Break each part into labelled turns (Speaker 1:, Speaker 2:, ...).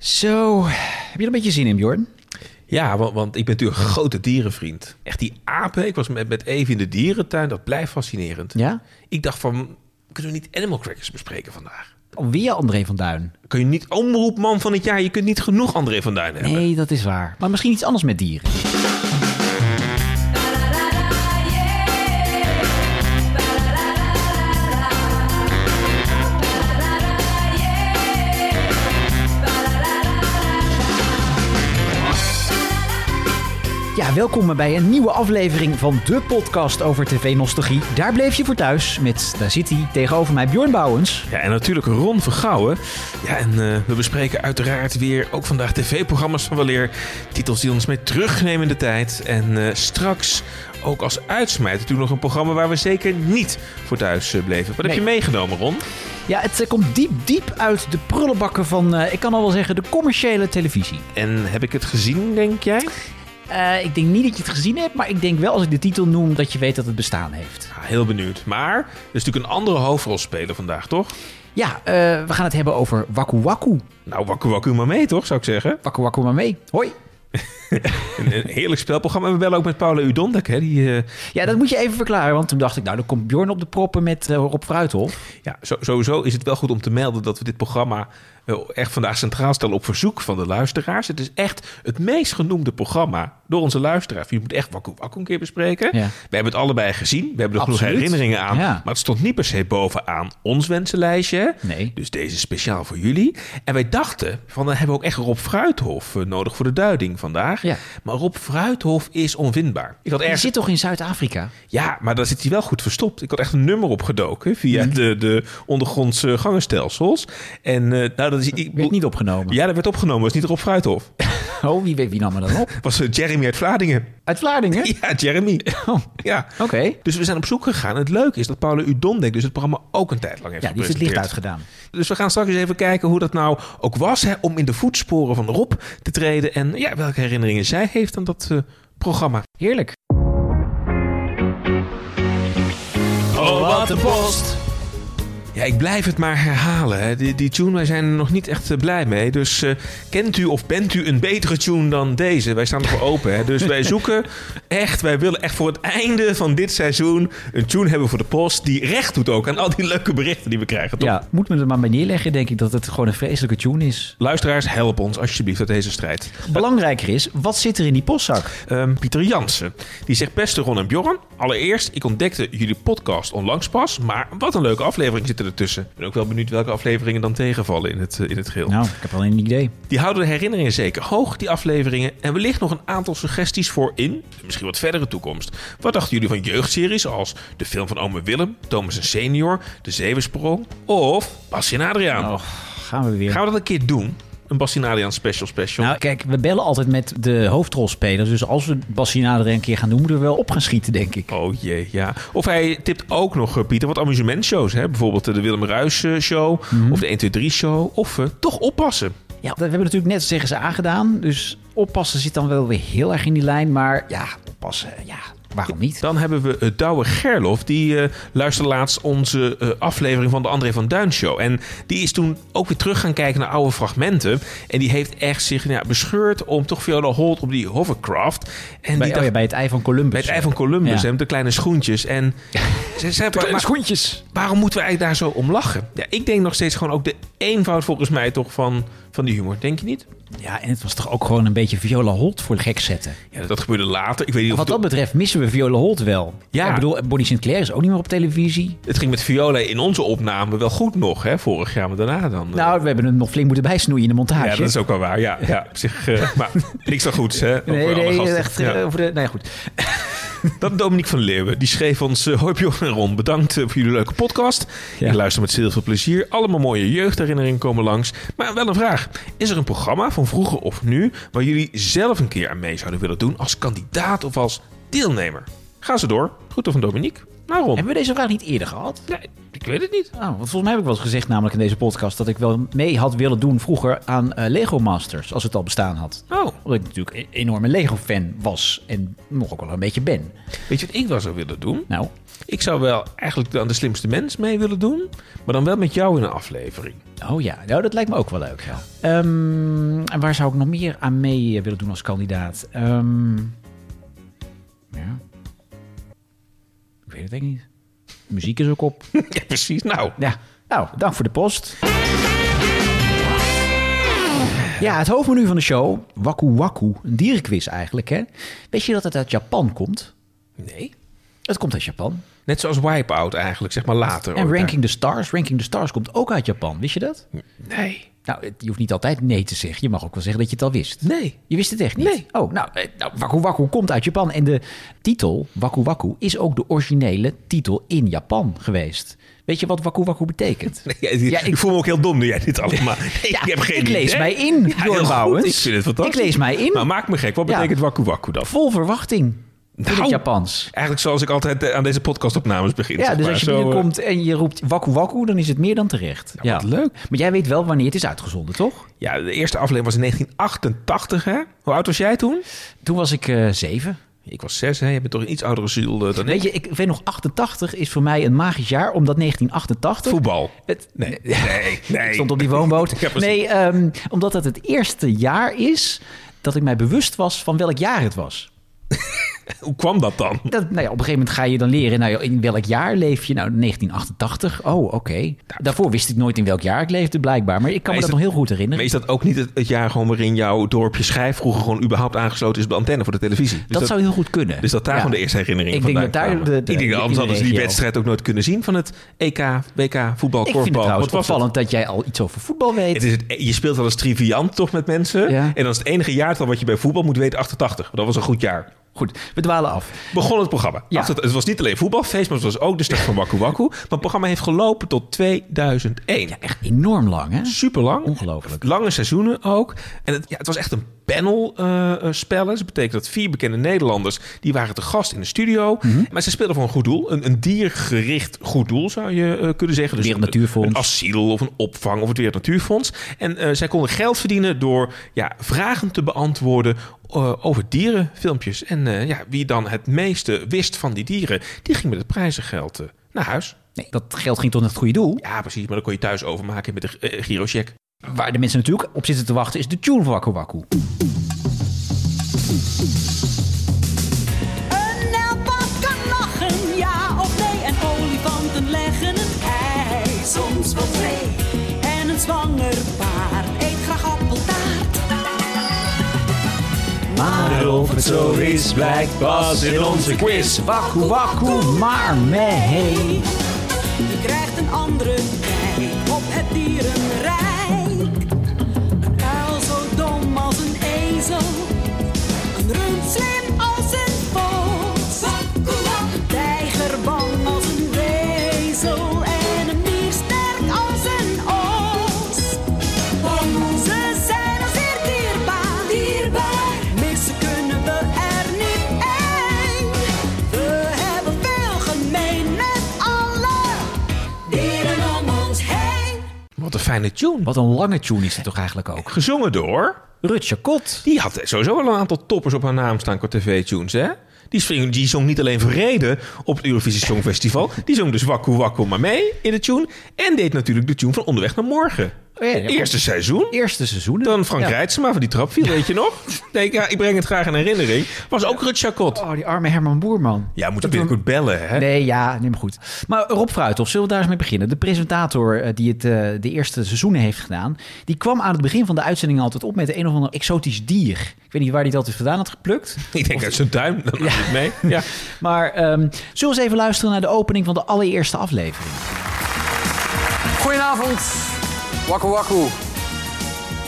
Speaker 1: Zo, heb je er een beetje zin in, Bjorn?
Speaker 2: Ja, want, want ik ben natuurlijk een grote dierenvriend. Echt die apen. Ik was met, met Eve in de dierentuin. Dat blijft fascinerend.
Speaker 1: Ja?
Speaker 2: Ik dacht van, kunnen we niet Animal Crackers bespreken vandaag?
Speaker 1: Alweer André van Duin.
Speaker 2: Kun je niet omroepman van het jaar? Je kunt niet genoeg André van Duin hebben.
Speaker 1: Nee, dat is waar. Maar misschien iets anders met dieren. Ja, welkom bij een nieuwe aflevering van de podcast over tv-nostalgie. Daar bleef je voor thuis met, daar zit hij, tegenover mij Bjorn Bouwens.
Speaker 2: Ja, en natuurlijk Ron Vergouwen. Ja, en eh, we bespreken uiteraard weer ook vandaag tv-programma's van weleer. Titels die ons mee terugnemen in de tijd. En eh, straks ook als uitsmijter toen nog een programma waar we zeker niet voor thuis eh, bleven. Wat
Speaker 1: Nee.
Speaker 2: heb je meegenomen, Ron?
Speaker 1: Ja, het eh, komt diep, diep uit de prullenbakken van, eh, ik kan al wel zeggen, de commerciële televisie.
Speaker 2: En heb ik het gezien, denk jij?
Speaker 1: Eh, ik denk niet dat je het gezien hebt, maar ik denk wel als ik de titel noem dat je weet dat het bestaan heeft.
Speaker 2: Ja, heel benieuwd. Maar er is natuurlijk een andere hoofdrolspeler vandaag, toch?
Speaker 1: Ja, eh, we gaan het hebben over Waku Waku.
Speaker 2: Nou, wakku wakku maar mee, toch, zou ik zeggen.
Speaker 1: Waku Waku maar mee. Hoi.
Speaker 2: Een, een heerlijk spelprogramma. En we bellen ook met Paula Udondek, hè. Die, eh,
Speaker 1: Ja, dat moet je even verklaren, want toen dacht ik, nou, dan komt Bjorn op de proppen met eh, Rob Fruithof.
Speaker 2: ja, zo- sowieso is het wel goed om te melden dat we dit programma eh, echt vandaag centraal stellen op verzoek van de luisteraars. Het is echt het meest genoemde programma door onze luisteraars. Je moet echt wakku wakku een keer bespreken.
Speaker 1: Ja.
Speaker 2: We hebben het allebei gezien. We hebben er genoeg
Speaker 1: Absoluut.
Speaker 2: herinneringen aan.
Speaker 1: Ja.
Speaker 2: Maar het stond niet per se bovenaan ons wensenlijstje. hè.
Speaker 1: Nee.
Speaker 2: Dus deze is speciaal voor jullie. En wij dachten, van dan hebben we ook echt Rob Fruithof eh, nodig voor de duiding vandaag.
Speaker 1: Ja.
Speaker 2: Maar Rob Fruithof is onvindbaar. Ik had
Speaker 1: Die
Speaker 2: ergens,
Speaker 1: zit toch in Zuid-Afrika?
Speaker 2: Ja, maar daar zit hij wel goed verstopt. Ik had echt een nummer opgedoken via
Speaker 1: Mm.
Speaker 2: de, de ondergrondse gangenstelsels. En eh, nou, dat is... Ik,
Speaker 1: Werd niet opgenomen.
Speaker 2: Ja, dat werd opgenomen. Dat is niet Rob Fruithof.
Speaker 1: Oh, wie, weet- wie nam er dan op?
Speaker 2: Dat was eh, Jeremy uit Vlaardingen.
Speaker 1: Uit Vlaardingen?
Speaker 2: Ja, Jeremy.
Speaker 1: Oh,
Speaker 2: Ja.
Speaker 1: Oké.
Speaker 2: Dus we zijn op zoek gegaan. En het leuke is dat Paula Udondek dus het programma ook een tijd lang heeft
Speaker 1: Ja, die is het licht
Speaker 2: gepresenteerd.
Speaker 1: uitgedaan.
Speaker 2: Dus we gaan straks eens even kijken hoe dat nou ook was hè, om in de voetsporen van Rob te treden. En ja, welke herinneringen zij heeft aan dat eh, programma.
Speaker 1: Heerlijk.
Speaker 2: Oh, wat een post! Ja, ik blijf het maar herhalen. Hè. Die, die tune, wij zijn er nog niet echt eh, blij mee. Dus eh, kent u of bent u een betere tune dan deze? Wij staan ervoor open. Hè. Dus wij zoeken echt, wij willen echt voor het einde van dit seizoen een tune hebben voor de post. Die recht doet ook aan al die leuke berichten die we krijgen. Toch?
Speaker 1: Ja, moet me er maar bij neerleggen, denk ik, dat het gewoon een vreselijke tune is.
Speaker 2: Luisteraars, help ons alsjeblieft uit deze strijd.
Speaker 1: Belangrijker is, wat zit er in die postzak?
Speaker 2: Ehm, Pieter Jansen. Die zegt beste Ron en Bjorn. Allereerst, ik ontdekte jullie podcast onlangs pas. Maar wat een leuke aflevering zit er ertussen. Ik ben ook wel benieuwd welke afleveringen dan tegenvallen in het, eh, in het geheel.
Speaker 1: Nou, ik heb alleen een idee.
Speaker 2: Die houden de herinneringen zeker hoog, die afleveringen. En wellicht nog een aantal suggesties voor in, de misschien wat verdere toekomst. Wat dachten jullie van jeugdseries als de film van Ome Willem, Thomas en Senior, De Zeewensprong of Bastien Adriaan?
Speaker 1: Oh, gaan we weer.
Speaker 2: Gaan we dat een keer doen? Een Bastien Adriaan special special.
Speaker 1: Nou, kijk, we bellen altijd met de hoofdrolspelers. Dus als we Bassinader een keer gaan doen, moeten we wel op gaan schieten, denk ik.
Speaker 2: Oh jee, ja. Of hij tipt ook nog, eh, Pieter, wat amusementshows. Hè? Bijvoorbeeld eh, de Willem Ruijs eh, show
Speaker 1: Mhm.
Speaker 2: of de 123-show. Of eh, toch oppassen.
Speaker 1: Ja, dat hebben we natuurlijk net zeggen ze aangedaan. Dus oppassen zit dan wel weer heel erg in die lijn. Maar ja, oppassen, ja, waarom niet?
Speaker 2: Dan hebben we eh, Douwe Gerlof. Die eh, luisterde laatst onze eh, aflevering van de André van Duin show. En die is toen ook weer terug gaan kijken naar oude fragmenten. En die heeft echt zich nou ja, bescheurd om toch Viola Holt op die hovercraft. En
Speaker 1: Bij,
Speaker 2: die
Speaker 1: oh ja,
Speaker 2: dacht,
Speaker 1: bij het ei van Columbus.
Speaker 2: bij het ei van Columbus,
Speaker 1: Ja.
Speaker 2: hè, met de kleine schoentjes. En ze zei, maar- maar-
Speaker 1: schoentjes.
Speaker 2: Waarom moeten we eigenlijk daar zo om lachen? Ja, ik denk nog steeds gewoon ook de eenvoud volgens mij toch van, van die humor. Denk je niet?
Speaker 1: Ja, en het was toch ook gewoon een beetje Viola Holt voor de gek zetten.
Speaker 2: Ja, dat gebeurde later. Ik weet niet of
Speaker 1: Wat
Speaker 2: het,
Speaker 1: dat betreft missen we Viola Holt wel.
Speaker 2: Ja.
Speaker 1: Ik bedoel, Bonnie Sinclair is ook niet meer op televisie.
Speaker 2: het ging met Viola in onze opname wel goed nog, hè? Vorig jaar, maar daarna dan. eh,
Speaker 1: Nou, we hebben hem nog flink moeten bijsnoeien in de montage.
Speaker 2: ja, dat is ook wel waar. Ja, ja op zich. eh, maar niks dan goeds, hè? over
Speaker 1: Nee,
Speaker 2: alle
Speaker 1: nee,
Speaker 2: gasten.
Speaker 1: echt.
Speaker 2: Ja.
Speaker 1: eh, Over de, nee, goed.
Speaker 2: Dat Dominique van Leeuwen. Die schreef ons... eh, Hoi Bjorn en Ron, bedankt eh, voor jullie leuke podcast.
Speaker 1: Ja.
Speaker 2: Ik luister met heel veel plezier. Allemaal mooie jeugdherinneringen komen langs. Maar wel een vraag. Is er een programma van vroeger of nu... waar jullie zelf een keer aan mee zouden willen doen... als kandidaat of als deelnemer? Ga ze door. Groeten van Dominique. Waarom?
Speaker 1: Hebben we deze vraag niet eerder gehad?
Speaker 2: Nee, ik weet het niet.
Speaker 1: Oh, want volgens mij heb ik wel eens gezegd, namelijk in deze podcast, dat ik wel mee had willen doen vroeger aan eh, Lego Masters, als het al bestaan had.
Speaker 2: Oh,
Speaker 1: Omdat ik natuurlijk een enorme Lego-fan was en nog ook wel een beetje ben.
Speaker 2: weet je wat ik wel zou willen doen?
Speaker 1: Nou,
Speaker 2: Ik zou wel eigenlijk aan de slimste mens mee willen doen, maar dan wel met jou in een aflevering.
Speaker 1: oh ja, nou, dat lijkt me ook wel leuk. Ja. Ehm, en waar zou ik nog meer aan mee eh, willen doen als kandidaat? Ehm, ja. Ik weet het eigenlijk niet. De muziek is ook op.
Speaker 2: Ja, precies. Nou,
Speaker 1: Ja, nou, dank voor de post. Ja, het hoofdmenu van de show, Waku Waku, een dierenquiz eigenlijk. Hè? Wist je dat het uit Japan komt?
Speaker 2: nee.
Speaker 1: Het komt uit Japan.
Speaker 2: Net zoals Wipeout eigenlijk, zeg maar later.
Speaker 1: en
Speaker 2: ook, hè?
Speaker 1: Ranking the Stars, Ranking the Stars komt ook uit Japan. Wist je dat?
Speaker 2: Nee.
Speaker 1: Nou, het- je hoeft niet altijd nee te zeggen. Je mag ook wel zeggen dat je het al wist.
Speaker 2: Nee.
Speaker 1: Je wist het echt niet?
Speaker 2: Nee.
Speaker 1: Oh, nou, eh, nou Waku Waku komt uit Japan. En de titel, Waku Waku, is ook de originele titel in Japan geweest. Weet je wat Waku Waku betekent? Ja, ik-
Speaker 2: ik voel me ook heel dom nu jij dit allemaal... Nee,
Speaker 1: Ja,
Speaker 2: ik heb geen
Speaker 1: ik lees
Speaker 2: idee.
Speaker 1: mij in,
Speaker 2: heel
Speaker 1: Jorn
Speaker 2: goed.
Speaker 1: Bouwens.
Speaker 2: Ik vind het fantastisch.
Speaker 1: Ik lees mij in.
Speaker 2: Maar maak me gek. Wat
Speaker 1: Ja.
Speaker 2: betekent waku waku dan?
Speaker 1: Vol verwachting in het
Speaker 2: Nou.
Speaker 1: Japans.
Speaker 2: Eigenlijk zoals ik altijd eh, aan deze podcastopnames begin.
Speaker 1: Ja,
Speaker 2: zeg
Speaker 1: dus
Speaker 2: maar.
Speaker 1: als je
Speaker 2: Zo, eh,
Speaker 1: binnenkomt en je roept wakku wakku, dan is het meer dan terecht. Ja,
Speaker 2: wat leuk.
Speaker 1: Maar jij weet wel wanneer het is uitgezonden, toch?
Speaker 2: eh, Ja, de eerste aflevering was in 1988, hè? Hoe oud was jij toen?
Speaker 1: Toen was ik eh, zeven.
Speaker 2: Ik was zes, hè? Je bent toch een iets oudere ziel eh, dan ik?
Speaker 1: Weet je, ik weet nog, 88 is voor mij een magisch jaar, omdat 1988...
Speaker 2: Voetbal.
Speaker 1: Het,
Speaker 2: Nee, nee, nee.
Speaker 1: Ik stond op die woonboot.
Speaker 2: Ja, precies.
Speaker 1: nee, ehm, omdat het het eerste jaar is dat ik mij bewust was van welk jaar het was.
Speaker 2: Hoe kwam dat dan?
Speaker 1: Dat, nou ja, op een gegeven moment ga je dan leren, nou, ja, in welk jaar leef je? Nou, 1988. Oh, oké. Daarvoor wist ik nooit in welk jaar ik leefde, blijkbaar. Maar ik kan
Speaker 2: Maar
Speaker 1: me
Speaker 2: is
Speaker 1: dat nog heel goed herinneren.
Speaker 2: Maar is dat ook niet het, het jaar gewoon waarin jouw dorpje Schijf vroeger gewoon überhaupt aangesloten is op de antenne voor de televisie? Dus
Speaker 1: dat, zou heel goed kunnen.
Speaker 2: Dus dat daar
Speaker 1: Ja.
Speaker 2: gewoon de eerste herinnering
Speaker 1: Ik denk
Speaker 2: vandaan
Speaker 1: dat daar
Speaker 2: kwamen.
Speaker 1: de- de-
Speaker 2: ik denk
Speaker 1: de-
Speaker 2: dat anders
Speaker 1: in de
Speaker 2: hadden ze die
Speaker 1: regio.
Speaker 2: wedstrijd ook nooit kunnen zien van het E EK, WK, voetbal,
Speaker 1: Ik
Speaker 2: korfbal.
Speaker 1: vind het trouwens
Speaker 2: Wat was het?
Speaker 1: opvallend dat jij al iets over voetbal weet.
Speaker 2: Het is het, e- je speelt wel eens triviant toch met mensen.
Speaker 1: Ja.
Speaker 2: En dan is het enige jaartal wat je bij voetbal moet weten 88. Want Dat was een goed jaar.
Speaker 1: Goed, we dwalen af.
Speaker 2: Begon het programma.
Speaker 1: Ja.
Speaker 2: 88 het was niet alleen voetbalfeest, maar het was ook de start van Waku Waku. Maar het programma heeft gelopen tot 2001.
Speaker 1: Echt enorm lang, hè?
Speaker 2: Super lang.
Speaker 1: Ongelooflijk.
Speaker 2: Lange seizoenen ook. En het, ja, het was echt een panel eh, eh, spellen. Dus dat betekent dat vier bekende Nederlanders... die waren te gast in de studio. Maar ze speelden voor een goed doel. Een, een diergericht goed doel, zou je eh, kunnen zeggen. Dus
Speaker 1: Wereld Natuurfonds.
Speaker 2: Een, een asiel of een opvang of het Wereld Natuurfonds. En eh, zij konden geld verdienen door ja, vragen te beantwoorden... eh, over dierenfilmpjes. En eh, ja, wie dan het meeste wist van die dieren... die ging met het prijzengeld eh, naar huis.
Speaker 1: Nee, dat geld ging toch naar het goede doel.
Speaker 2: Ja, precies. Maar dan kon je thuis overmaken met de eh, girocheck.
Speaker 1: Waar de mensen natuurlijk op zitten te wachten is de tune van Wakku Wakku.
Speaker 3: Een nelpaard kan lachen, ja of nee. En olifanten leggen een ei, soms wel twee. En een zwanger paard eet graag appeltaart. Nou,
Speaker 1: Maar
Speaker 2: of het zo is, blijkt pas in onze quiz.
Speaker 1: Wakku Wakku, maar mee.
Speaker 3: Je krijgt een andere kijk op het dierenrijk. Een kuil zo dom als een ezel. Een rund slim als een vos. Een tijger bang als een wezel. En een mier sterk als een os. Ze zijn al zeer dierbaar. dierbaar. Missen kunnen we er niet één. We hebben veel gemeen met alle dieren om ons heen.
Speaker 2: Wat een fijne tune.
Speaker 1: Wat een lange tune is het toch eigenlijk ook.
Speaker 2: Gezongen door.
Speaker 1: Rutje Kot.
Speaker 2: Die had sowieso wel een aantal toppers op haar naam staan qua tv-tunes, hè? Die, zong- die zong niet alleen Vrede op het Eurovisie Songfestival. Die zong dus Wakku Wakku maar mee in de tune. En deed natuurlijk de tune van Onderweg naar Morgen.
Speaker 1: Oh ja, ja.
Speaker 2: Eerste seizoen.
Speaker 1: Eerste seizoen.
Speaker 2: Dan Frank
Speaker 1: Ja.
Speaker 2: Rijtsema van die trap viel, weet je nog? Nee, ik, ja, ik breng het graag in herinnering. Was ook Rut Chacot.
Speaker 1: Oh, die arme Herman Boerman.
Speaker 2: Ja, moet ik binnenkort bellen, hè?
Speaker 1: Nee, ja, neem maar goed. Maar Rob Fruithof, zullen we daar eens mee beginnen? De presentator eh, die het eh, de eerste seizoenen heeft gedaan... die kwam aan het begin van de uitzending altijd op met een of ander exotisch dier. Ik weet niet waar hij dat dus vandaan had geplukt.
Speaker 2: Ik denk uit zijn duim, dan nam ik mee. Ja.
Speaker 1: Maar ehm, zullen we eens even luisteren naar de opening van de allereerste aflevering?
Speaker 4: Goedenavond. Wakku wakku.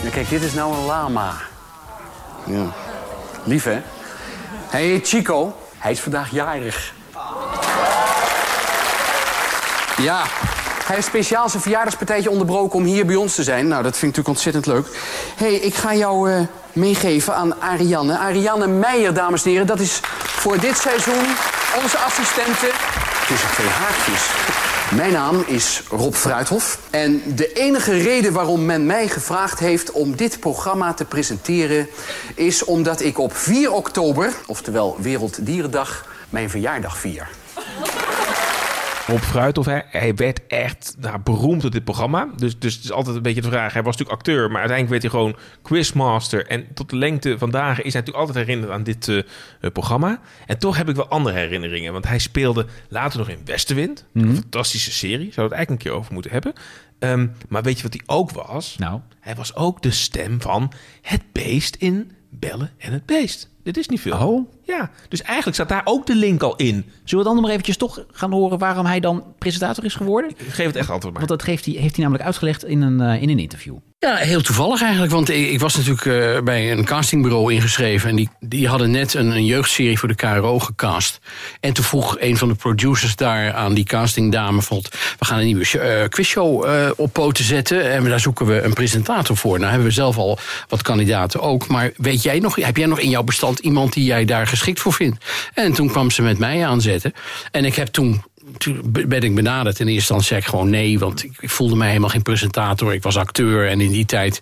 Speaker 4: Ja, kijk, dit is nou een lama.
Speaker 5: Ja.
Speaker 4: Lief, hè? Hé, hey, Chico. Hij is vandaag jarig. Ja. Hij heeft speciaal zijn verjaardagspartijtje onderbroken om hier bij ons te zijn. Nou, dat vind ik natuurlijk ontzettend leuk. Hé, hey, ik ga jou eh, meegeven aan Ariane. Ariane Meijer, dames en heren. Dat is voor dit seizoen onze assistente.
Speaker 6: tussen twee haakjes. Mijn naam is Rob Fruithof. En de enige reden waarom men mij gevraagd heeft om dit programma te presenteren... is omdat ik op 4 oktober, oftewel Werelddierendag, mijn verjaardag vier.
Speaker 2: Rob Fruithof, hij, hij werd echt nou, beroemd op dit programma. Dus, dus het is altijd een beetje de vraag. Hij was natuurlijk acteur, maar uiteindelijk werd hij gewoon quizmaster. En tot de lengte van dagen is hij natuurlijk altijd herinnerd aan dit eh, eh, programma. En toch heb ik wel andere herinneringen. Want hij speelde later nog in Westenwind.
Speaker 1: Mhm.
Speaker 2: Een fantastische serie. Zou het eigenlijk een keer over moeten hebben. Ehm, maar weet je wat hij ook was?
Speaker 1: Nou.
Speaker 2: Hij was ook de stem van het beest in Bellen en het Beest. Dit is niet veel.
Speaker 1: Oh.
Speaker 2: Ja, dus eigenlijk staat daar ook de link al in.
Speaker 1: Zullen we dan nog eventjes toch gaan horen waarom hij dan presentator is geworden?
Speaker 2: Geef het echt antwoord maar.
Speaker 1: Want dat geeft hij, heeft hij namelijk uitgelegd in een, eh, in een interview.
Speaker 6: Ja, heel toevallig eigenlijk. Want ik, ik was natuurlijk eh, bij een castingbureau ingeschreven. En die, die hadden net een, een jeugdserie voor de KRO gecast. En toen vroeg een van de producers daar aan die castingdame... Van, we gaan een nieuwe sh- eh, quizshow eh, op poten zetten. En daar zoeken we een presentator voor. Nou hebben we zelf al wat kandidaten ook. Maar weet jij nog, heb jij nog in jouw bestand iemand die jij daar geschikt voor vindt? En toen kwam ze met mij aanzetten. En ik heb toen Toen ben ik benaderd. In eerste instantie zei ik gewoon nee, want ik, ik voelde mij helemaal geen presentator. Ik was acteur en in die tijd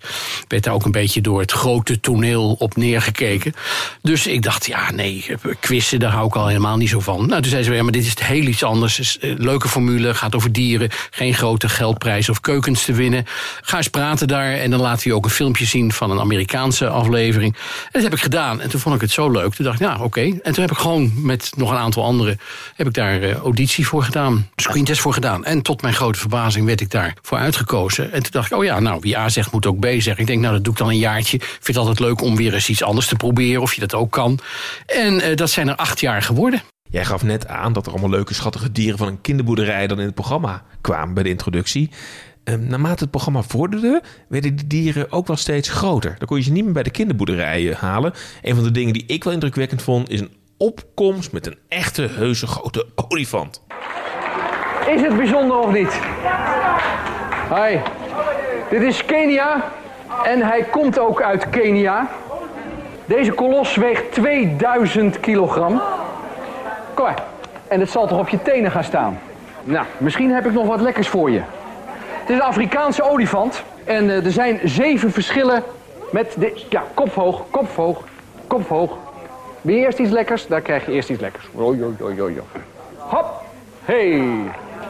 Speaker 6: werd daar ook een beetje door het grote toneel op neergekeken. Dus ik dacht, ja nee, eh, quizzen, daar hou ik al helemaal niet zo van. Nou, toen zei ze, ja, maar dit is heel iets anders. Is, eh, leuke formule, gaat over dieren, geen grote geldprijs of keukens te winnen. Ga eens praten daar en dan laten we je ook een filmpje zien van een Amerikaanse aflevering. En dat heb ik gedaan en toen vond ik het zo leuk. Toen dacht ik, ja oké. En toen heb ik gewoon met nog een aantal anderen, heb ik daar eh, auditie voor gedaan, screentest voor gedaan. En tot mijn grote verbazing werd ik daarvoor uitgekozen. En toen dacht ik, oh ja, nou wie A zegt moet ook B zeggen. Ik denk, nou dat doe ik dan een jaartje. Ik vind het altijd leuk om weer eens iets anders te proberen, of je dat ook kan. En eh, dat zijn er acht jaar geworden.
Speaker 2: Jij gaf net aan dat er allemaal leuke, schattige dieren van een kinderboerderij dan in het programma kwamen bij de introductie. Ehm, naarmate het programma vorderde, werden die dieren ook wel steeds groter. Dan kon je ze niet meer bij de kinderboerderijen halen. Een van de dingen die ik wel indrukwekkend vond, is een opkomst met een echte, heuse grote olifant.
Speaker 7: Is het bijzonder of niet? Hi, dit is Kenia en hij komt ook uit Kenia. Deze kolos weegt 2000 kilogram. Kom maar, en het zal toch op je tenen gaan staan? Nou, misschien heb ik nog wat lekkers voor je. Het is een Afrikaanse olifant en eh, er zijn zeven verschillen met de... Ja, kophoog, kophoog, kophoog. Wil je eerst iets lekkers? Daar krijg je eerst iets lekkers. Oei, oei, oei, oei, oei. Hop, hey.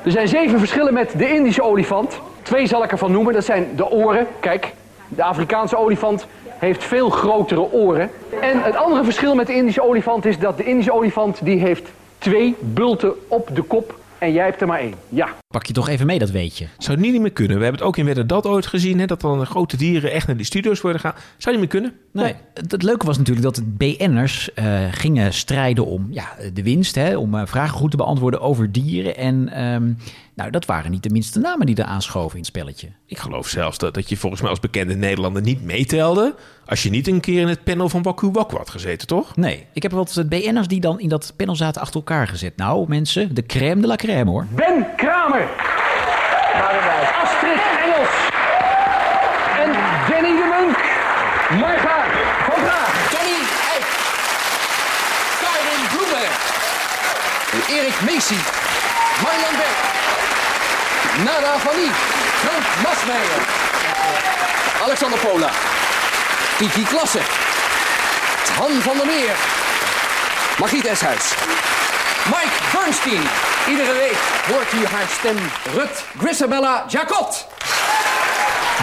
Speaker 7: Er zijn zeven verschillen met de Indische olifant. Twee zal ik ervan noemen. Dat zijn de oren. Kijk, de Afrikaanse olifant heeft veel grotere oren. En het andere verschil met de Indische olifant is dat de Indische olifant... die heeft twee bulten op de kop en jij hebt er maar één. Ja.
Speaker 1: Pak je toch even mee, dat weet je.
Speaker 2: Zou niet, niet meer kunnen. We hebben het ook in Wedden dat ooit gezien, hè, dat dan grote dieren echt naar die studio's worden gaan. Zou niet meer kunnen.
Speaker 1: Nee. Nou, Het, het leuke was natuurlijk dat de BN'ers eh, gingen strijden om ja, de winst, hè, om eh, vragen goed te beantwoorden over dieren. En ehm, nou, dat waren niet de minste namen die er aanschoven in het spelletje.
Speaker 2: Ik geloof zelfs dat, dat je volgens mij als bekende Nederlander niet meetelde. als je niet een keer in het panel van Waku Waku had gezeten, toch?
Speaker 1: Nee, ik heb wat BN'ers die dan in dat panel zaten achter elkaar gezet. Nou, mensen, de crème de la crème hoor.
Speaker 7: Ben Kramer. Astrid Engels. En Jenny de Munk. Marga van Praag.
Speaker 4: Tony Eijk. Karin Bloemen. Erik Meesie. Marjan Beck. Nada Vali. Frank Masmeijer. Alexander Pola. Kiki Klassen. Han van der Meer. Margriet Eshuis. Mike Bernstein. Iedere week hoort u haar stem Rut Grisabella Jacot.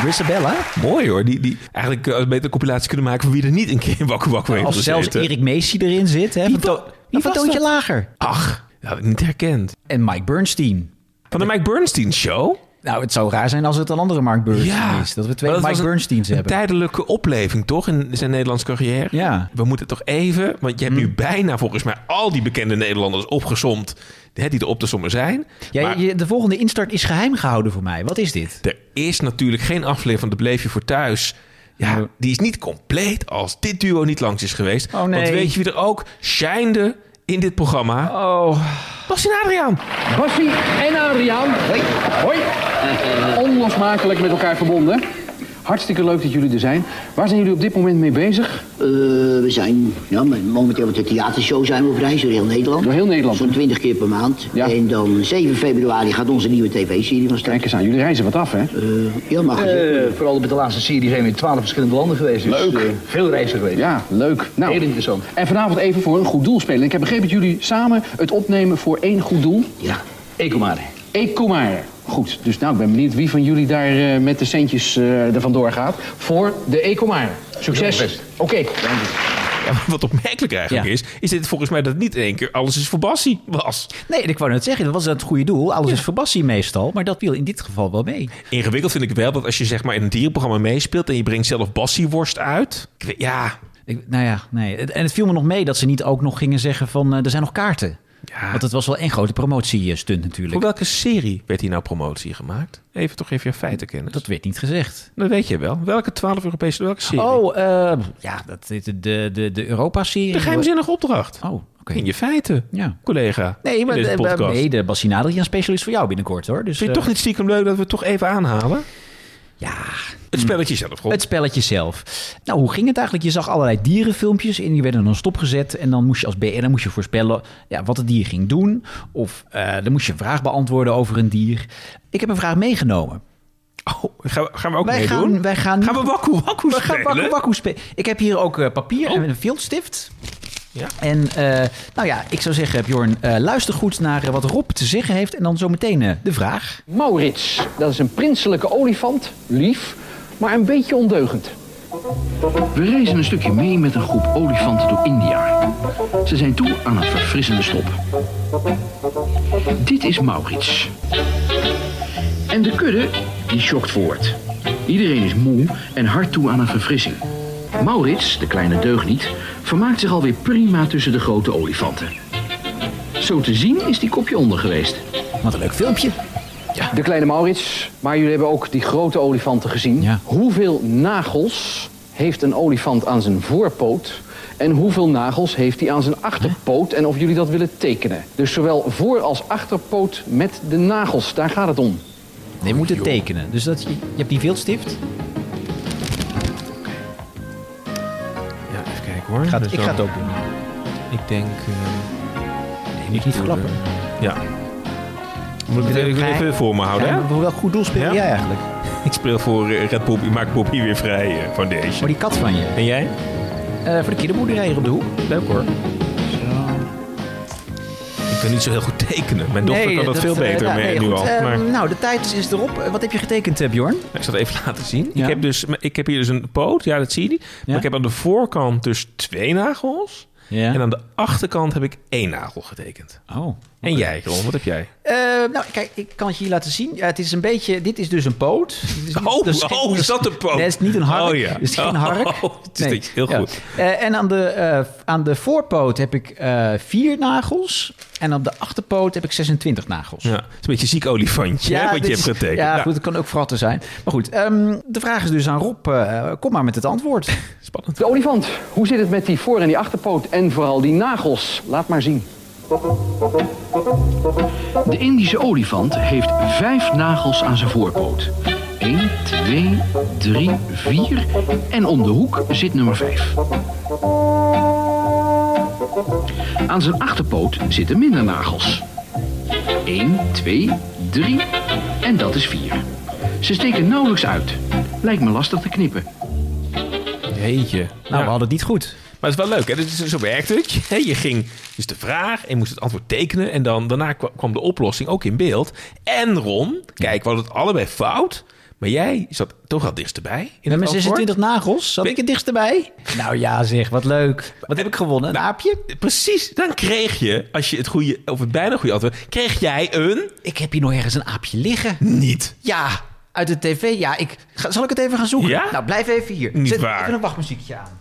Speaker 1: Grisabella?
Speaker 2: Mooi hoor. Die, die, eigenlijk als we beter een compilatie kunnen maken van wie er niet een keer in Wakku Wakku heeft
Speaker 1: Als zelfs
Speaker 2: gezeten.
Speaker 1: Erik Meesie erin zit. Hè,
Speaker 2: Wie
Speaker 1: van
Speaker 2: wa-
Speaker 1: to-
Speaker 2: wie
Speaker 1: van
Speaker 2: was
Speaker 1: Toontje
Speaker 2: dat?
Speaker 1: Lager.
Speaker 2: Ach, dat had ik niet herkend.
Speaker 1: En Mike Bernstein.
Speaker 2: Van de Mike Bernstein Show?
Speaker 1: Nou, het zou raar zijn als het een andere Mike Bernstein is. Dat we twee
Speaker 2: Maar
Speaker 1: Mike
Speaker 2: was een-
Speaker 1: Bernsteins
Speaker 2: een
Speaker 1: hebben.
Speaker 2: tijdelijke opleving toch in zijn Nederlandse carrière?
Speaker 1: Ja. Hm.
Speaker 2: We moeten toch even, want je hebt nu bijna volgens mij al die bekende Nederlanders opgesomd. Hè, die er op te sommen zijn.
Speaker 1: Ja,
Speaker 2: Maar-
Speaker 1: je- de volgende instart is geheim gehouden voor mij. Wat is dit?
Speaker 2: Er is natuurlijk geen aflevering van De Bleef Je Voor Thuis. Ja, die is niet compleet als dit duo niet langs is geweest.
Speaker 1: Oh, nee.
Speaker 2: Want weet je wie er ook shinede in dit programma?
Speaker 1: Oh.
Speaker 2: Bas en Adriaan.
Speaker 7: Bassie en Adriaan. Hoi. Onlosmakelijk met elkaar verbonden.
Speaker 8: Hartstikke leuk dat jullie er zijn. Waar zijn jullie op dit moment mee bezig?
Speaker 9: Eh, we zijn ja, momenteel met de theatershow zijn we op reis door heel Nederland.
Speaker 8: Door heel Nederland.
Speaker 9: Zo'n 20 keer per maand.
Speaker 8: Ja.
Speaker 9: En dan 7 februari gaat onze nieuwe tv-serie van start.
Speaker 8: Kijk eens aan, jullie reizen wat af, hè?
Speaker 9: Eh, ja, mag gezegd worden.
Speaker 6: vooral met de laatste serie zijn we in twaalf verschillende landen geweest. Dus,
Speaker 8: Leuk.
Speaker 6: eh, veel reizen geweest.
Speaker 8: Ja, leuk. Nou,
Speaker 6: Heel interessant.
Speaker 8: En vanavond even voor een goed doel spelen. Ik heb begrepen dat jullie samen het opnemen voor één goed doel.
Speaker 9: Ja.
Speaker 6: Ecomare.
Speaker 8: Ik kom maar. Goed, dus nou, ik ben benieuwd wie van jullie daar eh, met de centjes eh er vandoor gaat. Voor de Ecomare. Succes.
Speaker 6: Doe
Speaker 8: Oké.
Speaker 6: mijn
Speaker 2: Ja, maar wat opmerkelijk eigenlijk
Speaker 1: Ja.
Speaker 2: is, is dit volgens mij dat niet in één keer alles is voor Bassie was.
Speaker 1: Nee, ik wou net zeggen, dat was het goede doel. Alles is verbassie meestal, maar dat viel in dit geval wel mee.
Speaker 2: Ingewikkeld vind ik wel dat als je zeg maar in een dierenprogramma meespeelt en je brengt zelf Bassieworst uit. Ik weet- ja,
Speaker 1: Ik, nou ja, nee. Het- En het viel me nog mee dat ze niet ook nog gingen zeggen van eh, er zijn nog kaarten.
Speaker 2: Ja.
Speaker 1: Want het was wel één grote promotiestunt natuurlijk.
Speaker 2: voor welke serie werd hier nou promotie gemaakt? Even toch even je feiten kennen. Dat,
Speaker 1: Dat werd niet gezegd.
Speaker 2: dat weet je wel. Welke 12 Europese, welke serie?
Speaker 1: Oh, eh, ja, dat, de, de, de, de Europa-serie.
Speaker 2: de geheimzinnige opdracht.
Speaker 1: Oh, oké.
Speaker 2: In je feiten,
Speaker 1: Ja.
Speaker 2: collega.
Speaker 1: Nee, maar
Speaker 2: in deze
Speaker 1: de,
Speaker 2: podcast.
Speaker 1: nee, de Bassin Adriaan specialist voor jou binnenkort hoor. Dus,
Speaker 2: Vind je
Speaker 1: eh,
Speaker 2: toch niet stiekem leuk dat we het toch even aanhalen?
Speaker 1: Ja,
Speaker 2: Het spelletje zelf, Rob.
Speaker 1: Hmm. het spelletje zelf. Nou, hoe ging het eigenlijk? Je zag allerlei dierenfilmpjes en die werden dan stopgezet. En dan moest je als BN'er moest je voorspellen ja, wat het dier ging doen. Of eh, dan moest je een vraag beantwoorden over een dier. Ik heb een vraag meegenomen.
Speaker 2: Oh, gaan, we, gaan we ook
Speaker 1: Wij
Speaker 2: meedoen?
Speaker 1: gaan, wij gaan,
Speaker 2: Gaan we wakku wakku
Speaker 1: we gaan
Speaker 2: spelen? Oh.
Speaker 1: wakku wakku spelen. Ik heb hier ook eh, papier en een viltstift.
Speaker 2: Ja.
Speaker 1: En eh, nou ja, ik zou zeggen, Bjorn, eh, luister goed naar eh, wat Rob te zeggen heeft. En dan zometeen eh, de vraag.
Speaker 8: Maurits, dat is een prinselijke olifant. Lief, maar een beetje ondeugend.
Speaker 6: We reizen een stukje mee met een groep olifanten door India. Ze zijn toe aan een verfrissende stop. Dit is Maurits. En de kudde, die schokt voort. Iedereen is moe en hard toe aan een verfrissing. Maurits, de kleine deugniet, vermaakt zich alweer prima tussen de grote olifanten. Zo te zien is die kopje onder geweest.
Speaker 1: Wat een leuk filmpje.
Speaker 8: De kleine Maurits, maar jullie hebben ook die grote olifanten gezien.
Speaker 1: Ja.
Speaker 8: Hoeveel nagels heeft een olifant aan zijn voorpoot? En hoeveel nagels heeft hij aan zijn achterpoot? En of jullie dat willen tekenen. Dus zowel voor- als achterpoot met de nagels, daar gaat het om.
Speaker 1: Nee, we moeten tekenen. Dus dat, je, je hebt die viltstift.
Speaker 2: Ja, even kijken hoor.
Speaker 1: Gaat,
Speaker 2: Dus
Speaker 1: ik
Speaker 2: dan-
Speaker 1: ga het ook doen.
Speaker 2: Ik denk... eh,
Speaker 1: Nee, je moet niet verklappen.
Speaker 2: ja. Moet ik het even, even voor me houden,
Speaker 1: Ja,
Speaker 2: hè?
Speaker 1: maar voor welk goed doel speel
Speaker 2: Oh, Ja.
Speaker 1: jij eigenlijk?
Speaker 2: Ik speel voor eh, Red Poppy, maak Poppy weer vrij eh,
Speaker 1: Voor
Speaker 2: Foundation.
Speaker 1: die kat van je.
Speaker 2: En jij?
Speaker 1: Eh, voor de kinderboerderij hier op de hoek.
Speaker 2: Leuk hoor. Ik kan niet zo heel goed tekenen. Mijn dochter kan dat, veel
Speaker 1: eh,
Speaker 2: beter
Speaker 1: nou,
Speaker 2: mee
Speaker 1: nee,
Speaker 2: nu
Speaker 1: goed.
Speaker 2: al.
Speaker 1: Eh,
Speaker 2: maar
Speaker 1: Nou, de tijd is erop. Eh, Wat heb je getekend, eh, Bjorn?
Speaker 2: ik zal het even laten zien.
Speaker 1: Ja.
Speaker 2: Ik, heb dus, ik heb hier dus een poot. Ja, dat zie je.
Speaker 1: Ja.
Speaker 2: Maar ik heb aan de voorkant dus twee nagels.
Speaker 1: Ja.
Speaker 2: En aan de achterkant heb ik één nagel getekend.
Speaker 1: Oh.
Speaker 2: En jij, Ron, wat heb jij?
Speaker 1: Eh, nou, kijk, ik kan het je laten zien. Ja, het is een beetje... Dit is dus een poot. Dit is niet-
Speaker 2: Oh,
Speaker 1: dat is geen-
Speaker 2: oh, is dat een poot?
Speaker 1: Nee, het is niet een hark.
Speaker 2: Oh, ja.
Speaker 1: Het is geen hark.
Speaker 2: Oh, het is niet- heel goed.
Speaker 1: Eh, en aan de, eh, aan de voorpoot heb ik eh, vier nagels. En op de achterpoot heb ik 26 nagels.
Speaker 2: Ja, het is een beetje een ziek olifantje, hè, wat
Speaker 1: dit
Speaker 2: je hebt
Speaker 1: is-
Speaker 2: getekend.
Speaker 1: Ja,
Speaker 2: Nou,
Speaker 1: goed, het kan ook fratten zijn. Maar goed, ehm, de vraag is dus aan Rob, eh, kom maar met het antwoord.
Speaker 2: Spannend.
Speaker 8: De olifant, hoe zit het met die voor- en die achterpoot? En vooral die nagels, laat maar zien.
Speaker 6: De Indische olifant heeft vijf nagels aan zijn voorpoot. 1, 2, 3, 4 en om de hoek zit nummer 5. Aan zijn achterpoot zitten minder nagels. 1, 2, 3 en dat is 4. Ze steken nauwelijks uit. Lijkt me lastig te knippen.
Speaker 2: Jeetje.
Speaker 1: Nou,
Speaker 2: Ja.
Speaker 1: we hadden het niet goed.
Speaker 2: Maar het is wel leuk, hè? Dit is- Zo werkt het. Je- Je ging dus de vraag en je moest het antwoord tekenen. En dan, daarna kwa- kwam de oplossing ook in beeld. En Ron, kijk, we hadden het allebei fout. Maar jij zat toch al dichtstbij in
Speaker 1: Met
Speaker 2: het
Speaker 1: mijn
Speaker 2: antwoord.
Speaker 1: 26 nagels, zat ik het dichtst erbij? Nou ja zeg, wat leuk.
Speaker 2: Eh,
Speaker 1: Wat heb ik gewonnen,
Speaker 2: nou.
Speaker 1: een aapje?
Speaker 2: Precies, dan kreeg je, als je het goede, of het bijna goede antwoord, kreeg jij een
Speaker 1: Ik heb hier nog ergens een aapje liggen.
Speaker 2: niet.
Speaker 1: Ja, uit de tv. Ja, ik, ga- zal ik het even gaan zoeken?
Speaker 2: Ja?
Speaker 1: Nou, blijf even hier.
Speaker 2: Niet
Speaker 1: Zet
Speaker 2: waar.
Speaker 1: even een wachtmuziekje aan.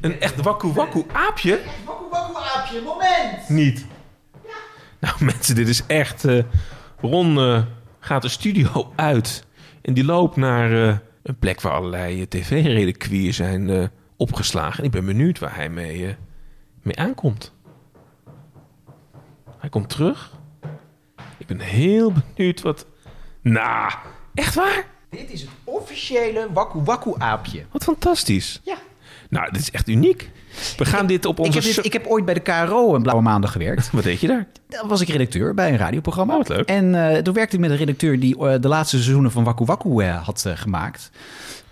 Speaker 2: Een echt wakku wakku aapje?
Speaker 1: Wakku wakku aapje, moment!
Speaker 2: Niet. Nou mensen, dit is echt... eh, Ron eh, gaat de studio uit en die loopt naar eh, een plek waar allerlei eh, tv-reliquieën zijn eh, opgeslagen. En ik ben benieuwd waar hij mee, eh, mee aankomt. Hij komt terug. Ik ben heel benieuwd wat... Nou, echt waar?
Speaker 1: Dit is het officiële Waku Waku aapje.
Speaker 2: Wat fantastisch.
Speaker 1: Ja.
Speaker 2: Nou, dit is echt uniek. We gaan dit op
Speaker 1: Ik
Speaker 2: onze...
Speaker 1: heb, dit-
Speaker 2: so-
Speaker 1: ik heb ooit bij de KRO een Blauwe Maandag gewerkt.
Speaker 2: Wat deed je daar?
Speaker 1: Daar was ik redacteur bij een radioprogramma.
Speaker 2: Oh, wat leuk.
Speaker 1: En eh, toen werkte ik met een redacteur die eh, de laatste seizoenen van Waku Waku eh, had eh, gemaakt.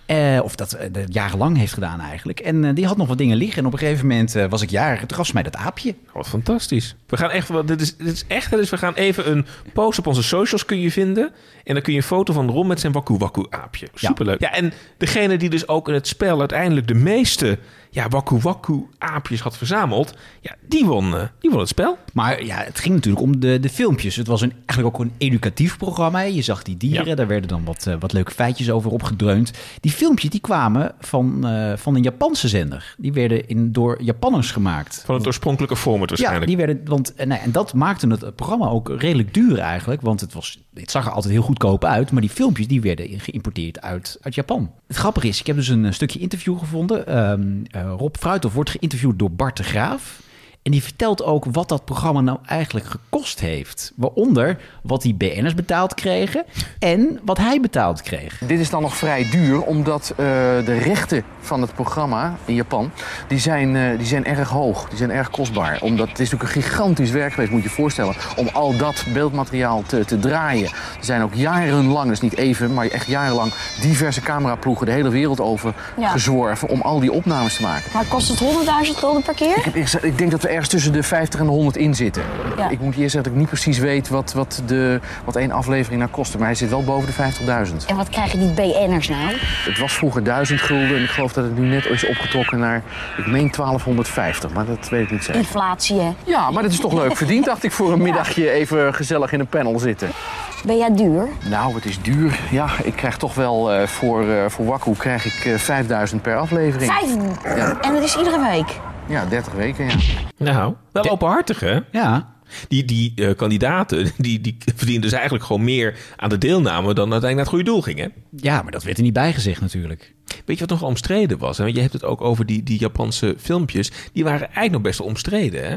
Speaker 1: Eh, of dat eh, dat jarenlang heeft gedaan eigenlijk. En eh, die had nog wat dingen liggen. En op een gegeven moment eh, was ik jarig. Toen gaf ze mij dat aapje.
Speaker 2: Wat fantastisch. We gaan echt, wat- dit is, dit is echt, dus we gaan even een post op onze socials kun je vinden. En dan kun je een foto van Ron met zijn Waku Waku aapje. Superleuk. Ja. en degene die dus ook in het spel uiteindelijk de meeste ja, Waku Waku aapjes had verzameld. Ja, die won, eh, die won het spel.
Speaker 1: Maar ja, het ging natuurlijk om de, de filmpjes. Het was een, eigenlijk ook een educatief programma. Je zag die dieren,
Speaker 2: Ja.
Speaker 1: daar werden dan wat, eh, wat leuke feitjes over opgedreund. Die filmpjes die kwamen van, eh, van een Japanse zender. Die werden in, door Japanners gemaakt.
Speaker 2: Van het oorspronkelijke format
Speaker 1: Ja,
Speaker 2: waarschijnlijk.
Speaker 1: die werden, want, eh, nee, en dat maakte het programma ook redelijk duur eigenlijk. Want het, was, het zag er altijd heel goedkoop uit. Maar die filmpjes die werden in- geïmporteerd uit, uit Japan. Het grappige is, ik heb dus een eh, stukje interview gevonden. Ehm, eh, Rob Fruithof wordt geïnterviewd door Bart de Graaf. En die vertelt ook wat dat programma nou eigenlijk gekost heeft. Waaronder wat die BN'ers betaald kregen en wat hij betaald kreeg.
Speaker 4: Dit is dan nog vrij duur, omdat eh, de rechten van het programma in Japan... Die zijn, eh, die zijn erg hoog, die zijn erg kostbaar. Omdat het is natuurlijk een gigantisch werk geweest, moet je je voorstellen... om al dat beeldmateriaal te, te draaien. Er zijn ook jarenlang, dus niet even, maar echt jarenlang... diverse cameraploegen de hele wereld over
Speaker 10: Ja.
Speaker 4: gezworven... om al die opnames te maken.
Speaker 10: Maar kost het 100.000 gulden per keer?
Speaker 4: Ik, heb eerst- ik denk dat we ergens tussen de 50 en de 100 in zitten.
Speaker 10: Ja.
Speaker 4: Ik moet je eerst zeggen dat ik niet precies weet wat, wat, de, wat één aflevering nou kostte. Maar hij zit wel boven de 50.000.
Speaker 10: En wat krijgen die BN'ers nou?
Speaker 4: Het was vroeger 1000 gulden en ik geloof dat het nu net is opgetrokken naar, ik meen 1250, maar dat weet ik niet zeker.
Speaker 10: Inflatie, hè?
Speaker 4: Ja, maar dat is toch leuk verdiend, dacht ik, voor een middagje even gezellig in een panel zitten.
Speaker 10: Ben jij duur?
Speaker 4: Nou, het is duur. Ja, ik krijg toch wel eh, voor, eh, voor Waku krijg ik eh, 5000 per aflevering.
Speaker 10: Vijf. En dat is iedere week.
Speaker 4: Ja, 30 weken, ja.
Speaker 2: Nou, wel openhartig hè?
Speaker 1: Ja,
Speaker 2: Die, die eh, kandidaten die, die verdienen dus eigenlijk gewoon meer aan de deelname dan uiteindelijk naar het goede doel ging hè?
Speaker 1: ja maar dat werd er niet bijgezegd natuurlijk.
Speaker 2: Weet je wat nog wel omstreden was? hè? Want je hebt het ook over die, die Japanse filmpjes. Die waren eigenlijk nog best wel omstreden hè?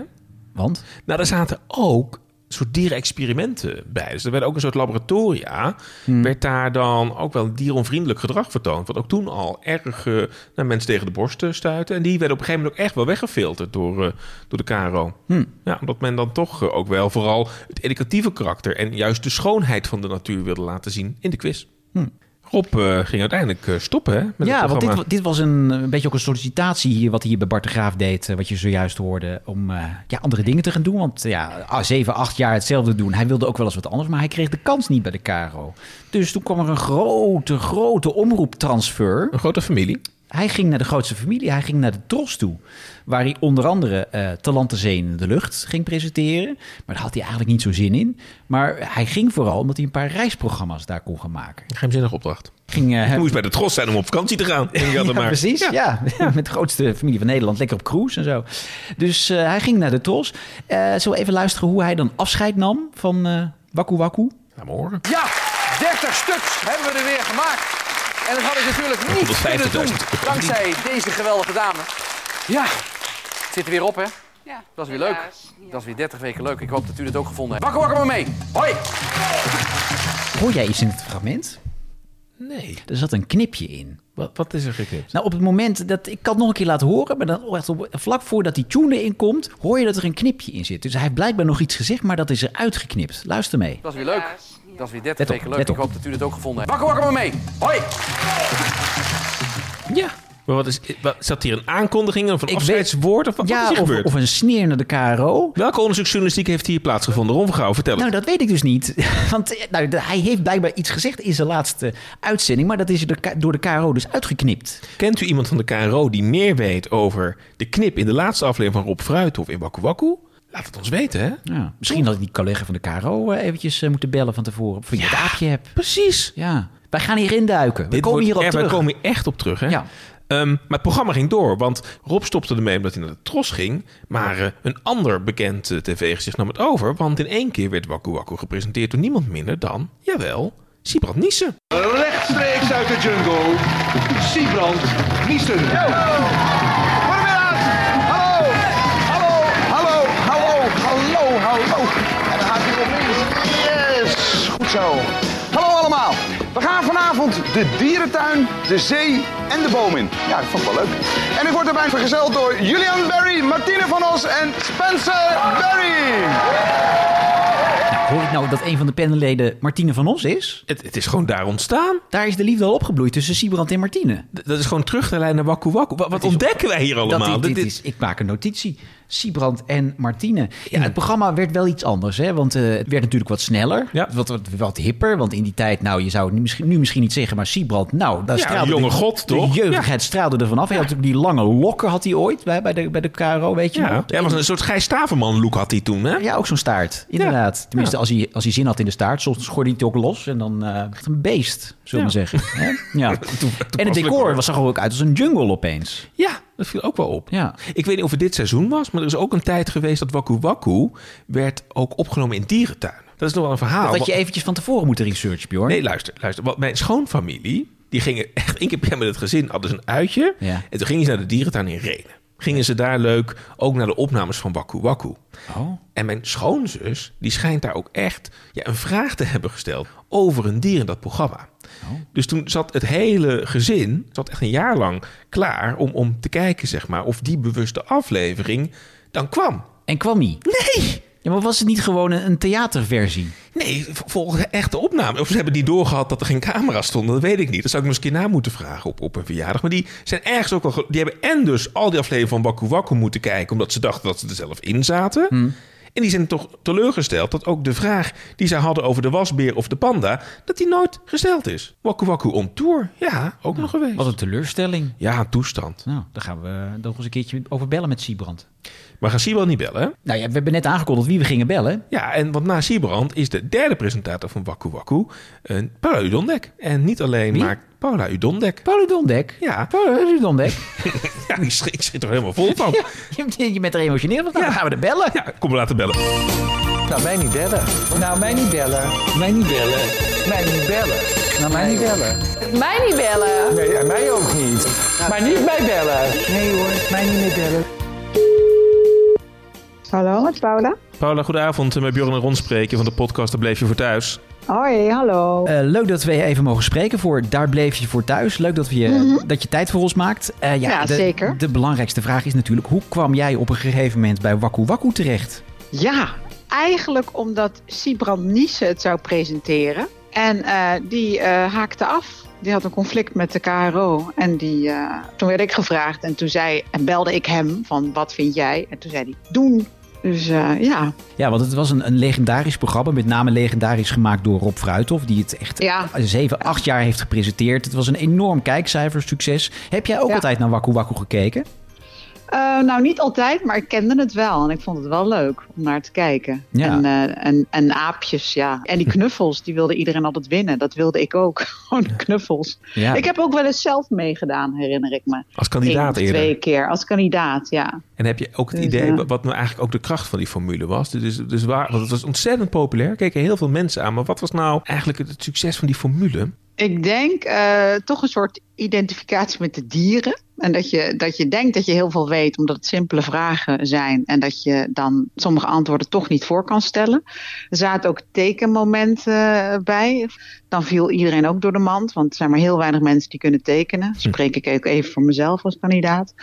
Speaker 1: Want?
Speaker 2: Nou, daar zaten ook soort dierenexperimenten bij. Dus er werden ook een soort laboratoria.
Speaker 1: Hmm.
Speaker 2: Werd daar dan ook wel dieronvriendelijk gedrag vertoond. Wat ook toen al erg eh, nou, mensen tegen de borst eh, stuitte. En die werden op een gegeven moment ook echt wel weggefilterd door, eh, door de KRO.
Speaker 1: Hmm.
Speaker 2: Ja, omdat men dan toch eh, ook wel vooral het educatieve karakter... en juist de schoonheid van de natuur wilde laten zien in de quiz. Rob eh, ging uiteindelijk eh, stoppen hè, met
Speaker 1: Hmm. ja,
Speaker 2: het
Speaker 1: want dit,
Speaker 2: programma.
Speaker 1: wa- dit was een, eh, een beetje ook een sollicitatie hier, wat hij hier bij Bart de Graaf deed, eh, wat je zojuist hoorde, om eh, ja, andere dingen te gaan doen. Want eh, ja, ah, zeven, acht jaar hetzelfde doen. Hij wilde ook wel eens wat anders, maar hij kreeg de kans niet bij de Caro. Dus toen kwam er een grote, grote omroeptransfer.
Speaker 2: Een grote familie.
Speaker 1: Hij ging naar de grootste familie, hij ging naar de Tros toe. Waar hij onder andere eh Talantenzeen in de lucht ging presenteren. Maar daar had hij eigenlijk niet zo zin in. Maar hij ging vooral omdat hij een paar reisprogramma's daar kon gaan maken.
Speaker 2: Een geheimzinnige opdracht.
Speaker 1: Ging, eh,
Speaker 2: Je moest bij de tros zijn om op vakantie te gaan. Denk ik altijd maar.
Speaker 1: Precies, ja. Ja, Met de grootste familie van Nederland. Lekker op cruise en zo. Dus eh, hij ging naar de Tros. Eh zullen we even luisteren hoe hij dan afscheid nam van eh Waku Waku?
Speaker 2: Laat me horen.
Speaker 11: Ja, 30 stuks hebben we er weer gemaakt. En dat had ik natuurlijk niet kunnen doen
Speaker 2: 150.000.
Speaker 11: dankzij deze geweldige dame. Ja, het zit er weer op, hè?
Speaker 12: Ja.
Speaker 11: Dat is weer leuk. Dat is weer 30 weken leuk. Ik hoop dat u dit ook gevonden hebt. Wakker, wakker maar mee. Hoi.
Speaker 1: Hoor jij iets in het fragment?
Speaker 2: Nee.
Speaker 1: Er zat een knipje in.
Speaker 2: Wat, wat is er geknipt?
Speaker 1: Nou, op het moment dat ik kan het nog een keer laten horen, maar dan echt op, vlak voordat die tune erin komt, hoor je dat er een knipje in zit. Dus hij heeft blijkbaar nog iets gezegd, maar dat is eruit geknipt. Luister mee.
Speaker 11: Dat is weer leuk. Dat is weer 30
Speaker 1: Let op,
Speaker 11: weken leuk.
Speaker 1: let op.
Speaker 11: Ik hoop dat u dit ook gevonden hebt. Wakker, wakker maar mee. Hoi.
Speaker 2: Ja. Maar wat is, wat, zat hier een aankondiging of een
Speaker 1: Ik
Speaker 2: afscheidswoord? Of wat, wat
Speaker 1: ja,
Speaker 2: is hier
Speaker 1: of,
Speaker 2: gebeurd?
Speaker 1: of een sneer naar de KRO.
Speaker 2: Welke onderzoeksjournalistiek heeft hier plaatsgevonden? Ron van Gouw, vertel het.
Speaker 1: Nou, dat weet ik dus niet. Want eh, nou, de- hij heeft blijkbaar iets gezegd in zijn laatste uitzending. Maar dat is de K- door de KRO dus uitgeknipt.
Speaker 2: Kent u iemand van de KRO die meer weet over de knip in de laatste aflevering van Rob Fruithof in Wakku Wakku? Laat het ons weten, hè?
Speaker 1: Ja, misschien had ik die collega van de KRO eh, eventjes eh, moeten bellen van tevoren. Of je het aapje hebt.
Speaker 2: Precies.
Speaker 1: Ja. Wij gaan hier induiken. We
Speaker 2: Dit
Speaker 1: komen
Speaker 2: wordt
Speaker 1: hier al
Speaker 2: echt-
Speaker 1: terug.
Speaker 2: Wij komen hier echt op terug, hè?
Speaker 1: Ja.
Speaker 2: Ehm, maar het programma ging door, want Rob stopte ermee omdat hij naar de tros ging. Maar eh, een ander bekend eh, tv-gezicht nam het over. Want in één keer werd Wakku Wakku gepresenteerd door niemand minder dan, jawel, Sibrand Nissen.
Speaker 13: Rechtstreeks uit de jungle, Siebrand Niesen. Goedemiddag! Hallo! Hallo! Hallo! Hallo! Hallo! Hallo! En dan gaat hij opeens. Yes! Goed zo. Hallo allemaal! We gaan vanavond vanavond de dierentuin, de zee en de boom in. Ja, ik vond het wel leuk. En ik word erbij vergezeld door Julian Berry, Martine van Os en Spencer Berry.
Speaker 1: Hoor ik nou dat een van de panelleden Martine van Os is?
Speaker 2: Het, is gewoon daar ontstaan.
Speaker 1: Daar is de liefde al opgebloeid tussen Siebrand en Martine.
Speaker 2: D- Dat is gewoon terug te leiden naar Waku Waku. Wat, wat ontdekken wij hier allemaal?
Speaker 1: Dat, dit, dit
Speaker 2: Dit- dit-
Speaker 1: is, ik maak een notitie. Siebrand en Martine. Ja, het programma werd wel iets anders, hè? Want eh, het werd natuurlijk wat sneller. Wat, wat, wat hipper. Want in die tijd, nou, je zou het nu misschien, nu misschien niet zeggen, maar Siebrand, nou, daar
Speaker 2: Ja,
Speaker 1: straalde.
Speaker 2: jonge
Speaker 1: de-
Speaker 2: god, toch?
Speaker 1: De jeugdigheid straalde er vanaf. Hij had natuurlijk die lange lokken, had hij ooit bij, bij, de, bij de KRO, weet je
Speaker 2: ja,
Speaker 1: nog?
Speaker 2: hij was een soort Gijs Staverman-look had hij toen, hè?
Speaker 1: Ja, ook zo'n staart. Inderdaad. Tenminste, Als, hij, als hij zin had in de staart, soms schorde hij het ook los. En dan eh, echt een beest, zullen we
Speaker 2: Ja.
Speaker 1: zeggen. Hè? Ja. en het decor was, zag er ook uit als een jungle opeens.
Speaker 2: Ja, dat viel ook wel op.
Speaker 1: Ja.
Speaker 2: Ik weet niet of het dit seizoen was, maar er is ook een tijd geweest dat Waku Waku werd ook opgenomen in dierentuin. Dat is nog wel een verhaal.
Speaker 1: Dat had
Speaker 2: want-
Speaker 1: je eventjes van tevoren moeten researchen, Bjorn.
Speaker 2: Nee, luister, luister. Want mijn schoonfamilie, die gingen echt één keer per jaar met het gezin, hadden ze een uitje.
Speaker 1: Ja.
Speaker 2: En toen gingen ze naar de dierentuin in Renen. Gingen ze daar leuk ook naar de opnames van Waku Waku.
Speaker 1: Oh.
Speaker 2: En mijn schoonzus, die schijnt daar ook echt ja, een vraag te hebben gesteld over een dier in dat programma. Dus toen zat het hele gezin, zat echt een jaar lang klaar om, om te kijken, zeg maar, of die bewuste aflevering dan kwam.
Speaker 1: En kwam die?
Speaker 2: Nee!
Speaker 1: Ja, maar was het niet gewoon een, een theaterversie?
Speaker 2: Nee, v- volgens de echte opname. Of ze hebben die doorgehad dat er geen camera's stonden, dat weet ik niet. Dat zou ik misschien na moeten vragen op, op een verjaardag. Maar die zijn ergens ook al. ge- Die hebben en dus al die afleveringen van Baku Waku moeten kijken, omdat ze dachten dat ze er zelf in zaten.
Speaker 1: Hmm.
Speaker 2: En die zijn toch teleurgesteld dat ook de vraag die zij hadden over de wasbeer of de panda, dat die nooit gesteld is. Waku Waku on tour, ja, ook nog geweest.
Speaker 1: Wat een teleurstelling.
Speaker 2: Ja, een toestand.
Speaker 1: Nou, daar gaan we nog eens een keertje over bellen met Siebrand.
Speaker 2: Maar gaan Siebrand niet bellen, hè?
Speaker 1: Nou ja, we hebben net aangekondigd wie we gingen bellen.
Speaker 2: Ja, en want na Siebrand is de derde presentator van Waku Waku een Paula Udondek. En niet alleen maakt Paula Udondek.
Speaker 1: Paul Dondek.
Speaker 2: Ja.
Speaker 1: Paul Dondek.
Speaker 2: Ja, die schrik- ik zit er helemaal vol van. Ja,
Speaker 1: je bent er emotioneel van. Nou, dan gaan we er bellen.
Speaker 2: kom maar laten bellen.
Speaker 14: Nou, mij niet bellen. Nou, mij niet bellen. Mij niet bellen. Mij niet bellen. Nou, mij niet bellen.
Speaker 15: Mij niet bellen.
Speaker 14: Nee, en mij ook niet. Maar niet mij bellen. Nee hoor, mij niet meer bellen.
Speaker 3: Hallo, het is Paula.
Speaker 2: Paula, goedenavond. Eh, Met Bjorn en Ron spreken van de podcast Daar Bleef Je Voor Thuis.
Speaker 3: Hoi, hallo.
Speaker 1: Eh, leuk dat we je even mogen spreken voor Daar bleef je voor thuis. Leuk dat, we je, dat je tijd voor ons maakt. Eh,
Speaker 3: Mhm. Ja,
Speaker 1: de,
Speaker 3: zeker.
Speaker 1: De belangrijkste vraag is natuurlijk... hoe kwam jij op een gegeven moment bij Waku Waku terecht?
Speaker 3: Ja, eigenlijk omdat Sibrand Niese het zou presenteren. En eh, die eh, haakte af. Die had een conflict met de KRO. En die, eh, toen werd ik gevraagd en toen zei, en belde ik hem van wat vind jij? En toen zei hij, doen. Dus eh, ja,
Speaker 1: Ja, want het was een, een legendarisch programma. Met name legendarisch gemaakt door Rob Fruithof. Die het echt
Speaker 3: Ja.
Speaker 1: zeven, acht jaar heeft gepresenteerd. Het was een enorm kijkcijfersucces. Heb jij ook altijd naar Waku Waku gekeken?
Speaker 3: Eh, nou, niet altijd, maar ik kende het wel. En ik vond het wel leuk om naar te kijken.
Speaker 1: Ja.
Speaker 3: En, eh, en, en aapjes, ja. En die knuffels, die wilde iedereen altijd winnen. Dat wilde ik ook. Gewoon de knuffels.
Speaker 2: Ja.
Speaker 3: Ik heb ook wel eens zelf meegedaan, herinner ik me.
Speaker 2: Als kandidaat
Speaker 3: Eén of twee
Speaker 2: eerder.
Speaker 3: keer, als kandidaat, ja.
Speaker 2: En heb je ook het
Speaker 3: Dus,
Speaker 2: idee,
Speaker 3: ja.
Speaker 2: wat- wat nou eigenlijk ook de kracht van die formule was? Dus, dus waar, want het was ontzettend populair, keken heel veel mensen aan. Maar wat was nou eigenlijk het, het succes van die formule?
Speaker 3: Ik denk eh, toch een soort identificatie met de dieren. En dat je, dat je denkt dat je heel veel weet, omdat het simpele vragen zijn. En dat je dan sommige antwoorden toch niet voor kan stellen. Er zaten ook tekenmomenten eh, bij. Dan viel iedereen ook door de mand, want er zijn maar heel weinig mensen die kunnen tekenen. Spreek ik ook even voor mezelf als kandidaat.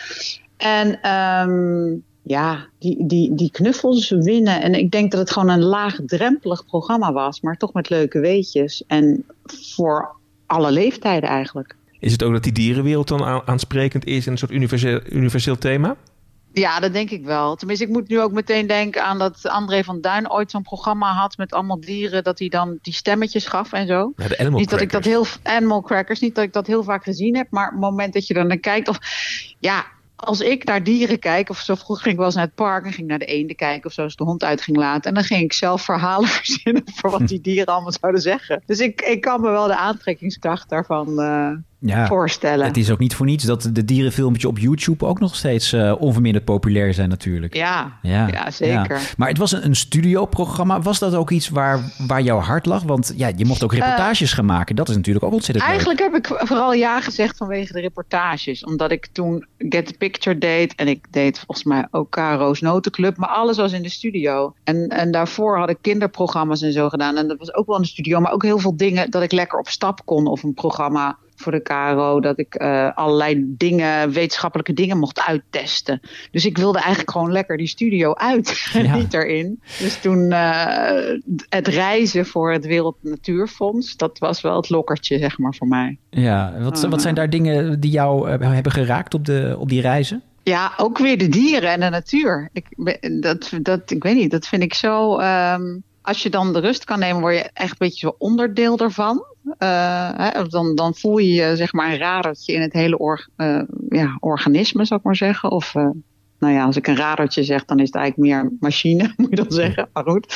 Speaker 3: En ehm, ja, die, die, die knuffels winnen. En ik denk dat het gewoon een laagdrempelig programma was, maar toch met leuke weetjes. En voor alle leeftijden eigenlijk.
Speaker 2: Is het ook dat die dierenwereld dan aan- aansprekend is en een soort universeel, universeel thema?
Speaker 3: Ja, dat denk ik wel. Tenminste, ik moet nu ook meteen denken aan dat André van Duin ooit zo'n programma had met allemaal dieren. Dat hij dan die stemmetjes gaf en zo.
Speaker 2: Ja, Nou, de Animal
Speaker 3: niet dat ik dat heel Animal Crackers, niet dat ik dat heel vaak gezien heb. Maar het moment dat je er naar kijkt. Of ja, als ik naar dieren kijk, of zo vroeg ging ik wel eens naar het park en ging naar de eenden kijken of zo als de hond uit ging laten. En dan ging ik zelf verhalen verzinnen voor wat die dieren allemaal zouden zeggen. Dus ik, ik kan me wel de aantrekkingskracht daarvan eh,
Speaker 1: ja,
Speaker 16: voorstellen.
Speaker 1: Het is ook niet voor niets dat de dierenfilmpjes op YouTube ook nog steeds eh, onverminderd populair zijn natuurlijk.
Speaker 16: Ja,
Speaker 1: Ja,
Speaker 16: ja, zeker.
Speaker 1: ja. Maar het was een, een studioprogramma. Was dat ook iets waar, waar jouw hart lag? Want ja, je mocht ook
Speaker 16: Eh,
Speaker 1: reportages gaan maken. Dat is natuurlijk ook ontzettend leuk.
Speaker 16: Eigenlijk heb ik vooral ja gezegd vanwege de reportages. Omdat ik toen Get the Picture deed. En ik deed volgens mij ook Karo's Notenclub. Maar alles was in de studio. En, en daarvoor had ik kinderprogramma's en zo gedaan. En dat was ook wel in de studio. Maar ook heel veel dingen dat ik lekker op stap kon. Of een programma voor de KRO. Dat ik eh, allerlei dingen, wetenschappelijke dingen mocht uittesten. Dus ik wilde eigenlijk gewoon lekker die studio uit. en niet erin. Dus toen eh, het reizen voor het Wereld Natuurfonds. Dat was wel het lokkertje zeg maar voor mij.
Speaker 1: Ja, wat, wat zijn daar dingen die jou eh, hebben geraakt op, de, op die reizen?
Speaker 16: Ja, ook weer de dieren en de natuur. Ik, ben- dat, dat, ik weet niet, dat vind ik zo. ehm, als je dan de rust kan nemen, word je echt een beetje zo onderdeel daarvan. Eh, hè, dan, dan voel je je zeg maar een radertje in het hele org- eh, ja, organisme, zou ik maar zeggen. Of eh, nou ja, als ik een radertje zeg, dan is het eigenlijk meer een machine, moet je dan zeggen. Maar goed.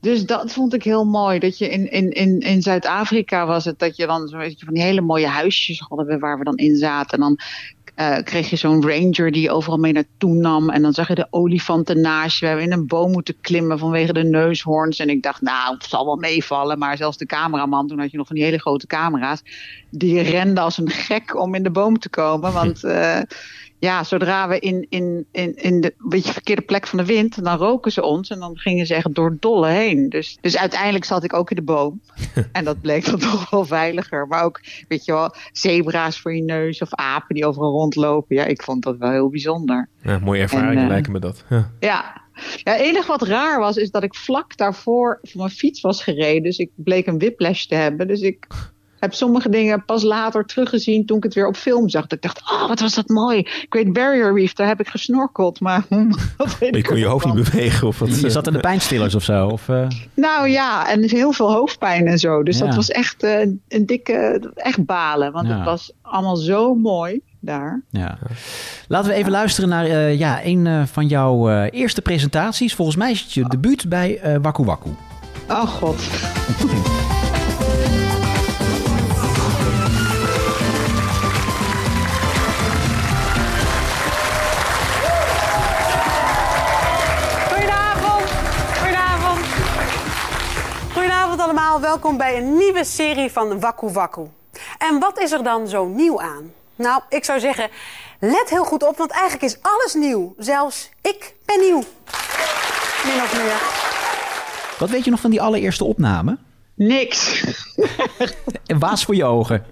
Speaker 16: Dus dat vond ik heel mooi. Dat je in, in, in, in Zuid-Afrika was het dat je dan zo'n beetje van die hele mooie huisjes hadden waar we dan in zaten. En dan eh, kreeg je zo'n ranger die je overal mee naartoe nam. En dan zag je de olifanten naast je. We hebben in een boom moeten klimmen vanwege de neushoorns. En ik dacht, nou, het zal wel meevallen. Maar zelfs de cameraman, toen had je nog van die hele grote camera's. Die rende als een gek om in de boom te komen. Want eh, ja, zodra we in, in, in, in de beetje verkeerde plek van de wind, dan roken ze ons en dan gingen ze echt door dolle heen. Dus, dus uiteindelijk zat ik ook in de boom. En dat bleek dan toch wel veiliger. Maar ook, weet je wel, zebra's voor je neus of apen die overal rondlopen. Ja, ik vond dat wel heel bijzonder.
Speaker 2: Ja, Nou, mooie ervaringen
Speaker 16: En, eh,
Speaker 2: lijken me dat. Ja.
Speaker 16: Ja. ja, het enige wat raar was, is dat ik vlak daarvoor van mijn fiets was gereden. Dus ik bleek een whiplash te hebben. Dus ik heb sommige dingen pas later teruggezien toen ik het weer op film zag. Dat ik dacht, oh, wat was dat mooi. Great Barrier Reef, daar heb ik gesnorkeld. Maar wat weet
Speaker 2: Ik kon je hoofd niet bewegen of wat. eh,
Speaker 1: Je zat aan de pijnstillers of zo? Of, eh?
Speaker 16: Nou ja, en heel veel hoofdpijn en zo. Dus
Speaker 1: Ja.
Speaker 16: dat was echt eh, een dikke, echt balen. Want
Speaker 1: Ja.
Speaker 16: het was allemaal zo mooi daar.
Speaker 1: Ja. Laten we even luisteren naar eh, ja, een eh, van jouw eh, eerste presentaties. Volgens mij is het je debuut bij eh Waku Waku.
Speaker 16: Oh god.
Speaker 3: Goedenavond. Goedenavond. Goedenavond allemaal. Welkom bij een nieuwe serie van Waku Waku. En wat is er dan zo nieuw aan? Nou, ik zou zeggen, let heel goed op, want eigenlijk is alles nieuw. Zelfs ik ben nieuw. Min of meer.
Speaker 1: Wat weet je nog van die allereerste opname?
Speaker 16: Niks.
Speaker 1: En waas voor je ogen.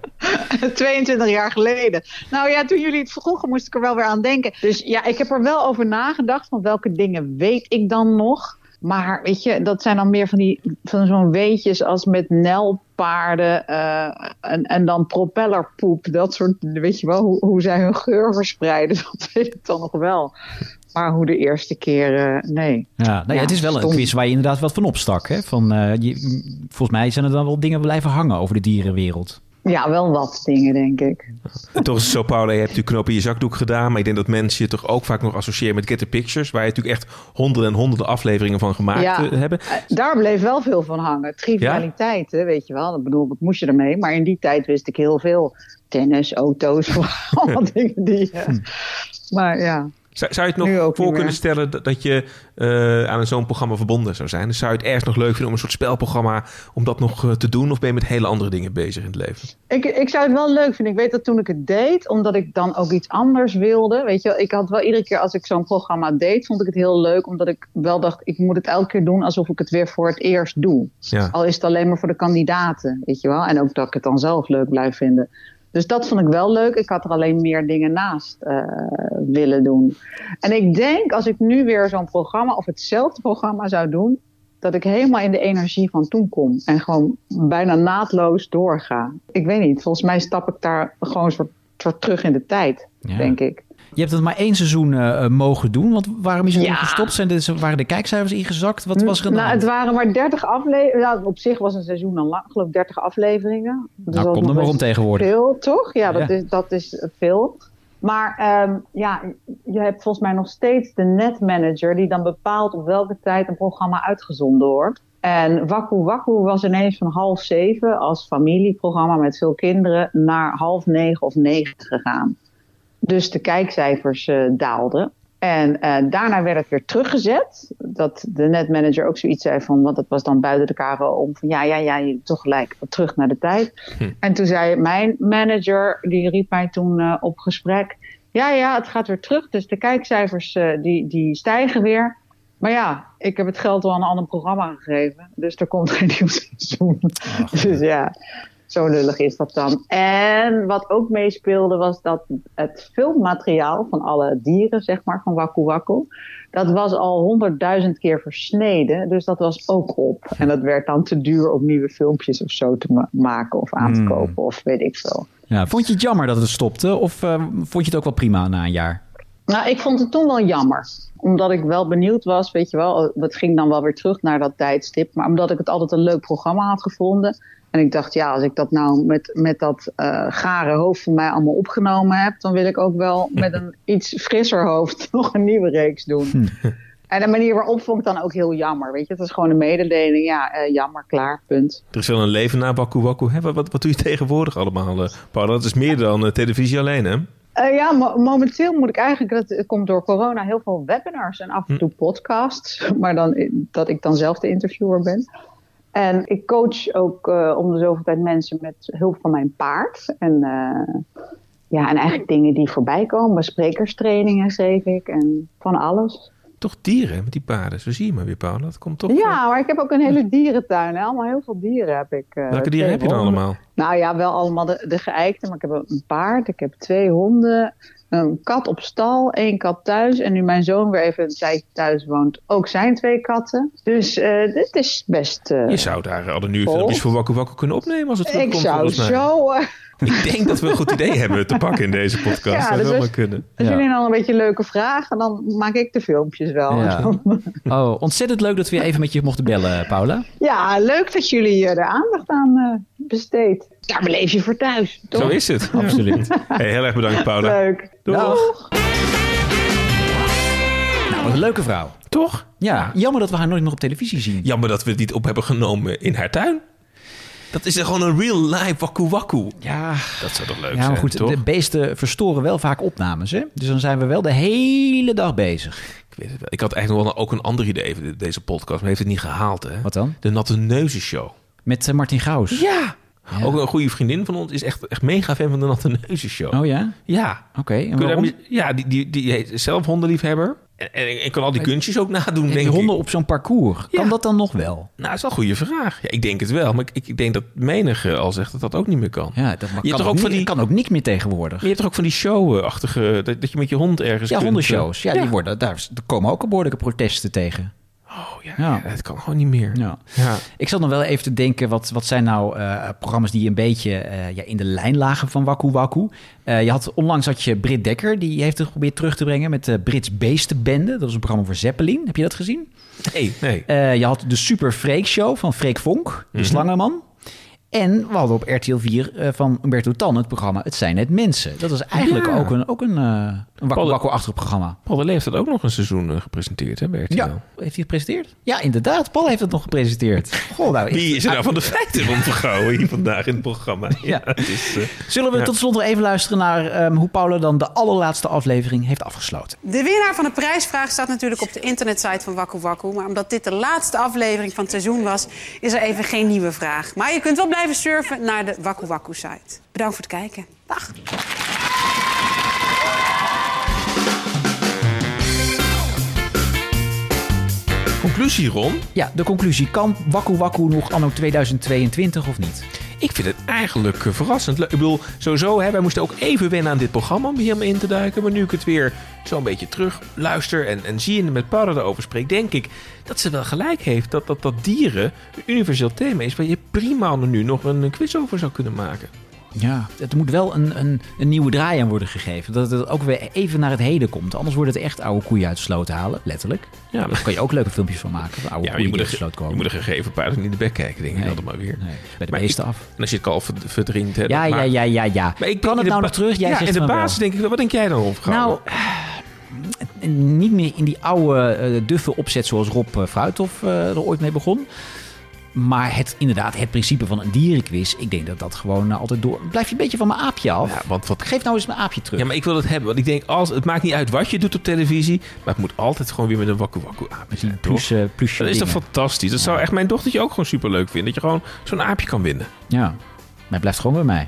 Speaker 16: 22 jaar geleden. Nou ja, toen jullie het vroegen, moest ik er wel weer aan denken. Dus ja, ik heb er wel over nagedacht van welke dingen weet ik dan nog. Maar weet je, dat zijn dan meer van, die, van zo'n weetjes als met nelpaarden eh, en, en dan propellerpoep. Dat soort, weet je wel, hoe, hoe zij hun geur verspreiden. Dat weet ik dan nog wel. Maar hoe de eerste keer, eh, nee.
Speaker 1: Ja, nou ja,
Speaker 16: Ja,
Speaker 1: het is wel
Speaker 16: stom.
Speaker 1: een quiz waar je inderdaad wat van opstak. Hè? Van, eh, je, volgens mij zijn er dan wel dingen blijven hangen over de dierenwereld.
Speaker 16: Ja, wel wat dingen, denk ik.
Speaker 2: En toch is het zo, Paula, je hebt die knoop in je zakdoek gedaan. Maar ik denk dat mensen je toch ook vaak nog associëren met Get the Pictures. Waar je natuurlijk echt honderden en honderden afleveringen van gemaakt
Speaker 16: Ja.
Speaker 2: eh, hebben.
Speaker 16: Eh, Daar bleef wel veel van hangen. Trivialiteiten, weet je wel. Ik bedoel, wat moest je ermee? Maar in die tijd wist ik heel veel. Tennis, auto's, allemaal dingen die... eh, maar ja.
Speaker 2: Zou, zou je het nog voor kunnen stellen dat, dat je eh, aan zo'n programma verbonden zou zijn? Dus zou je het ergens nog leuk vinden om een soort spelprogramma... om dat nog eh, te doen? Of ben je met hele andere dingen bezig in het leven?
Speaker 16: Ik, ik zou het wel leuk vinden. Ik weet dat toen ik het deed, omdat ik dan ook iets anders wilde. Weet je, wel, ik had wel iedere keer als ik zo'n programma deed, vond ik het heel leuk. Omdat ik wel dacht, ik moet het elke keer doen alsof ik het weer voor het eerst doe.
Speaker 17: Ja.
Speaker 16: Al is het alleen maar voor de kandidaten, weet je wel. En ook dat ik het dan zelf leuk blijf vinden. Dus dat vond ik wel leuk. Ik had er alleen meer dingen naast eh, willen doen. En ik denk als ik nu weer zo'n programma of hetzelfde programma zou doen, dat ik helemaal in de energie van toen kom. En gewoon bijna naadloos doorga. Ik weet niet, volgens mij stap ik daar gewoon soort, soort terug in de tijd,
Speaker 1: Ja.
Speaker 16: denk ik.
Speaker 1: Je hebt het maar één seizoen eh, eh, mogen doen. Want waarom is het toen gestopt? Zijn de, waren de kijkcijfers ingezakt? Wat was er aan de
Speaker 16: Nou,
Speaker 1: hand?
Speaker 16: het waren maar 30 afleveringen. Nou, op zich was een seizoen dan lang, geloof ik, 30 afleveringen. Dus
Speaker 1: Nou,
Speaker 16: dat
Speaker 1: kom
Speaker 16: is
Speaker 1: er
Speaker 16: nog
Speaker 1: maar om
Speaker 16: best
Speaker 1: tegenwoordig.
Speaker 16: Veel, toch? Ja, dat,
Speaker 1: Ja.
Speaker 16: Is, dat is veel. Maar ehm, ja, je hebt volgens mij nog steeds de netmanager die dan bepaalt op welke tijd een programma uitgezonden wordt. En Waku Waku was ineens van half zeven als familieprogramma met veel kinderen naar half negen of negen gegaan. Dus de kijkcijfers eh, daalden. En eh, daarna werd het weer teruggezet. Dat de netmanager ook zoiets zei van, want dat was dan buiten de karen om van ja, ja, ja, je doet toch gelijk terug naar de tijd.
Speaker 18: Hm.
Speaker 16: En toen zei mijn manager, die riep mij toen eh, op gesprek. Ja, ja, het gaat weer terug. Dus de kijkcijfers eh, die, die stijgen weer. Maar ja, ik heb het geld al aan een ander programma gegeven. Dus er komt geen nieuw seizoen. dus ja, zo lullig is dat dan. En wat ook meespeelde was dat het filmmateriaal van alle dieren, zeg maar, van Waku Waku. Dat was al honderdduizend keer versneden. Dus dat was ook op. En dat werd dan te duur om nieuwe filmpjes of zo te ma- maken of aan te
Speaker 1: Hmm.
Speaker 16: kopen. Of weet ik veel.
Speaker 1: Ja, vond je het jammer dat het stopte? Of eh, vond je het ook wel prima na een jaar?
Speaker 16: Nou, ik vond het toen wel jammer. Omdat ik wel benieuwd was, weet je wel. Het ging dan wel weer terug naar dat tijdstip. Maar omdat ik het altijd een leuk programma had gevonden. En ik dacht, ja, als ik dat nou met, met dat eh, gare hoofd van mij allemaal opgenomen heb. dan wil ik ook wel met een iets frisser hoofd nog een nieuwe reeks doen. En de manier waarop vond ik dan ook heel jammer. Weet je, het was gewoon een mededeling. Ja, eh, jammer, klaar, punt.
Speaker 2: Er is wel een leven na Baku Baku. Hè, wat, wat, wat doe je tegenwoordig allemaal, eh, Paula? Dat is meer dan eh, televisie alleen, hè?
Speaker 16: Eh, ja, mo- momenteel moet ik eigenlijk, dat het komt door corona, heel veel webinars en af en toe
Speaker 2: Hm.
Speaker 16: podcasts. Maar dan i- dat ik dan zelf de interviewer ben. En ik coach ook eh, om de zoveel tijd mensen met hulp van mijn paard. En, eh, ja, en eigenlijk dingen die voorbij komen. Sprekerstrainingen geef ik en van alles.
Speaker 2: Toch dieren met die paarden. Zo zie je maar weer, Paula. Dat komt toch.
Speaker 16: Ja, maar ik heb ook een hele dierentuin. Hè? Allemaal heel veel dieren heb ik. eh,
Speaker 2: Welke dieren heb je dan
Speaker 16: tegenwoordig.
Speaker 2: allemaal?
Speaker 16: Nou ja, wel allemaal de, de geëikte, maar ik heb een paard, ik heb twee honden, een kat op stal, één kat thuis. En nu mijn zoon weer even een tijdje thuis woont, ook zijn twee katten. Dus eh dit is best... eh,
Speaker 2: Je zou daar al nu
Speaker 16: Vol.
Speaker 2: filmpjes voor Waku Waku kunnen opnemen als het
Speaker 16: ik
Speaker 2: terugkomt,
Speaker 16: zou
Speaker 2: volgens mij.
Speaker 16: zo... eh,
Speaker 2: Ik denk dat we een goed idee hebben te pakken in deze podcast.
Speaker 16: Ja,
Speaker 2: dat
Speaker 16: dus
Speaker 2: zou
Speaker 16: als-
Speaker 2: maar kunnen.
Speaker 16: als jullie dan een beetje leuke vragen, dan maak ik de filmpjes wel.
Speaker 1: Ja. Oh, ontzettend leuk dat we weer even met je mochten bellen, Paula.
Speaker 16: Ja, leuk dat jullie eh, er aandacht aan eh besteedt. Daar beleef je voor thuis, toch?
Speaker 2: Zo is het.
Speaker 1: Absoluut.
Speaker 2: Hey, heel erg bedankt, Paula.
Speaker 16: Leuk. Dag.
Speaker 1: Nou, wat een leuke vrouw.
Speaker 2: Toch?
Speaker 1: Ja, jammer dat we haar nooit meer op televisie zien.
Speaker 2: Jammer dat we het niet op hebben genomen in haar tuin. Dat is er gewoon een real life Waku Waku.
Speaker 1: Ja.
Speaker 2: Dat zou toch leuk
Speaker 1: Ja, maar
Speaker 2: zijn,
Speaker 1: goed,
Speaker 2: toch?
Speaker 1: de beesten verstoren wel vaak opnames, hè? Dus dan zijn we wel de hele dag bezig.
Speaker 2: Ik weet het wel. Ik had eigenlijk nog wel ook een ander idee voor de- deze podcast, maar heeft het niet gehaald, hè?
Speaker 1: Wat dan?
Speaker 2: De Natte Neuzen Show.
Speaker 1: Met eh, Martin Gaus.
Speaker 2: Ja. Ook een goede vriendin van ons is echt, echt mega fan van de Natte Neuzen Show.
Speaker 1: Oh ja?
Speaker 2: Ja.
Speaker 1: Oké, en
Speaker 2: Kun je daar
Speaker 1: waarom?
Speaker 2: mis- ja, die, die, die is zelf hondenliefhebber. En, en, en kan al die kunstjes ook nadoen,
Speaker 1: Die
Speaker 2: denk ik.
Speaker 1: honden op zo'n parcours, kan dat dan nog wel?
Speaker 2: Nou, dat is wel een goede vraag. Ja, ik denk het wel, maar ik, ik denk dat menige al zegt dat dat ook niet meer kan.
Speaker 1: Ja, dat
Speaker 2: je
Speaker 1: kan,
Speaker 2: hebt toch
Speaker 1: ook
Speaker 2: ook
Speaker 1: niet,
Speaker 2: van die,
Speaker 1: kan ook niet meer tegenwoordig.
Speaker 2: je hebt toch ook van die show-achtige, eh, dat, dat je met je hond ergens
Speaker 1: Ja,
Speaker 2: kunt,
Speaker 1: hondenshows. Ja,
Speaker 2: eh,
Speaker 1: Die worden, daar daar komen ook behoorlijke protesten tegen.
Speaker 2: Oh ja, ja, dat kan gewoon niet meer.
Speaker 1: Ja.
Speaker 2: Ja.
Speaker 1: Ik zat nog wel even te denken, wat, wat zijn nou eh, programma's die een beetje eh, ja, in de lijn lagen van Waku Waku? Eh, je had, onlangs had je Britt Dekker, die heeft het geprobeerd terug te brengen met de Brits Beestenbende. Dat was een programma voor Zeppelin. Heb je dat gezien?
Speaker 2: Nee, nee.
Speaker 1: Eh, je had de Super Freak Show van Freek Vonk, de
Speaker 2: Mhm.
Speaker 1: slangenman. En we hadden op RTL 4 eh, van Umberto Tan het programma Het zijn net mensen. Dat was eigenlijk
Speaker 2: Ja.
Speaker 1: ook een, ook een, eh een Waku
Speaker 2: Paul-
Speaker 1: Waku-achtig programma.
Speaker 2: Paul de Leeuw heeft dat ook nog een seizoen eh, gepresenteerd, hè, bij RTL.
Speaker 1: Ja, heeft hij gepresenteerd? Ja, inderdaad. Paul heeft het nog gepresenteerd. Goh, nou,
Speaker 2: Wie is er nou
Speaker 1: Ah,
Speaker 2: van de feiten rondgehouden hier vandaag in het programma? Ja, het is, eh,
Speaker 1: Zullen we
Speaker 2: ja.
Speaker 1: tot slot nog even luisteren naar ehm, hoe Paula dan de allerlaatste aflevering heeft afgesloten?
Speaker 19: De winnaar van de prijsvraag staat natuurlijk op de internetsite van Wakku Wakku. Maar omdat dit de laatste aflevering van het seizoen was, is er even geen nieuwe vraag. Maar je kunt wel blijven surfen naar de Wakku Wakku site. Bedankt voor het kijken. Dag.
Speaker 2: Conclusie, Ron?
Speaker 1: Ja, de conclusie. Kan Waku Waku nog anno 2022 of niet?
Speaker 2: Ik vind het eigenlijk eh, verrassend leuk. Ik bedoel, sowieso, hè, wij moesten ook even wennen aan dit programma om hier helemaal in te duiken. Maar nu ik het weer zo'n beetje terug luister en, en zie en met Paula erover spreek, denk ik dat ze wel gelijk heeft dat dat, dat dieren een universeel thema is waar je prima nu nog een eh, quiz over zou kunnen maken.
Speaker 1: Ja, het moet wel een, een, een nieuwe draai aan worden gegeven. Dat het ook weer even naar het heden komt. Anders wordt het echt oude koeien uit de sloot halen, letterlijk.
Speaker 2: Ja,
Speaker 1: Ja,
Speaker 2: maar-
Speaker 1: daar kan je ook leuke filmpjes van maken. Van oude
Speaker 2: Ja, maar
Speaker 1: koeien
Speaker 2: je moet,
Speaker 1: die
Speaker 2: er,
Speaker 1: uit de sloot
Speaker 2: je
Speaker 1: komen.
Speaker 2: moet er gegeven paard niet in de bek kijken, denk ik altijd maar weer.
Speaker 1: bij de
Speaker 2: Maar
Speaker 1: beesten
Speaker 2: ik-
Speaker 1: af.
Speaker 2: En als je het kalf verd- verdrinkt. Hè,
Speaker 1: Ja,
Speaker 2: dat
Speaker 1: ja,
Speaker 2: maakt-
Speaker 1: ja, ja, ja.
Speaker 2: Maar
Speaker 1: kan
Speaker 2: ik denk
Speaker 1: het
Speaker 2: in
Speaker 1: nou
Speaker 2: de
Speaker 1: nog
Speaker 2: ba-
Speaker 1: terug? Jij
Speaker 2: ja,
Speaker 1: zegt
Speaker 2: in de
Speaker 1: van wel.
Speaker 2: basis denk ik, wel. wat denk jij dan, Rolf Gouwen?
Speaker 1: Nou, eh, niet meer in die oude eh, duffe opzet zoals Rob eh, Fruithof eh, er ooit mee begon. Maar het, inderdaad, het principe van een dierenquiz, ik denk dat dat gewoon eh, altijd door... Blijf je een beetje van mijn aapje af.
Speaker 2: want wat...
Speaker 1: Geef nou eens mijn aapje terug.
Speaker 2: Ja, maar ik wil het hebben. Want ik denk, als, het maakt niet uit wat je doet op televisie. Maar het moet altijd gewoon weer met een wakku wakku aapje zijn, toch?
Speaker 1: plus, eh, plusje
Speaker 2: dat is toch
Speaker 1: dingen.
Speaker 2: fantastisch? Dat zou echt mijn dochtertje ook gewoon superleuk vinden. Dat je gewoon zo'n aapje kan winnen.
Speaker 1: Ja, maar het blijft gewoon bij mij.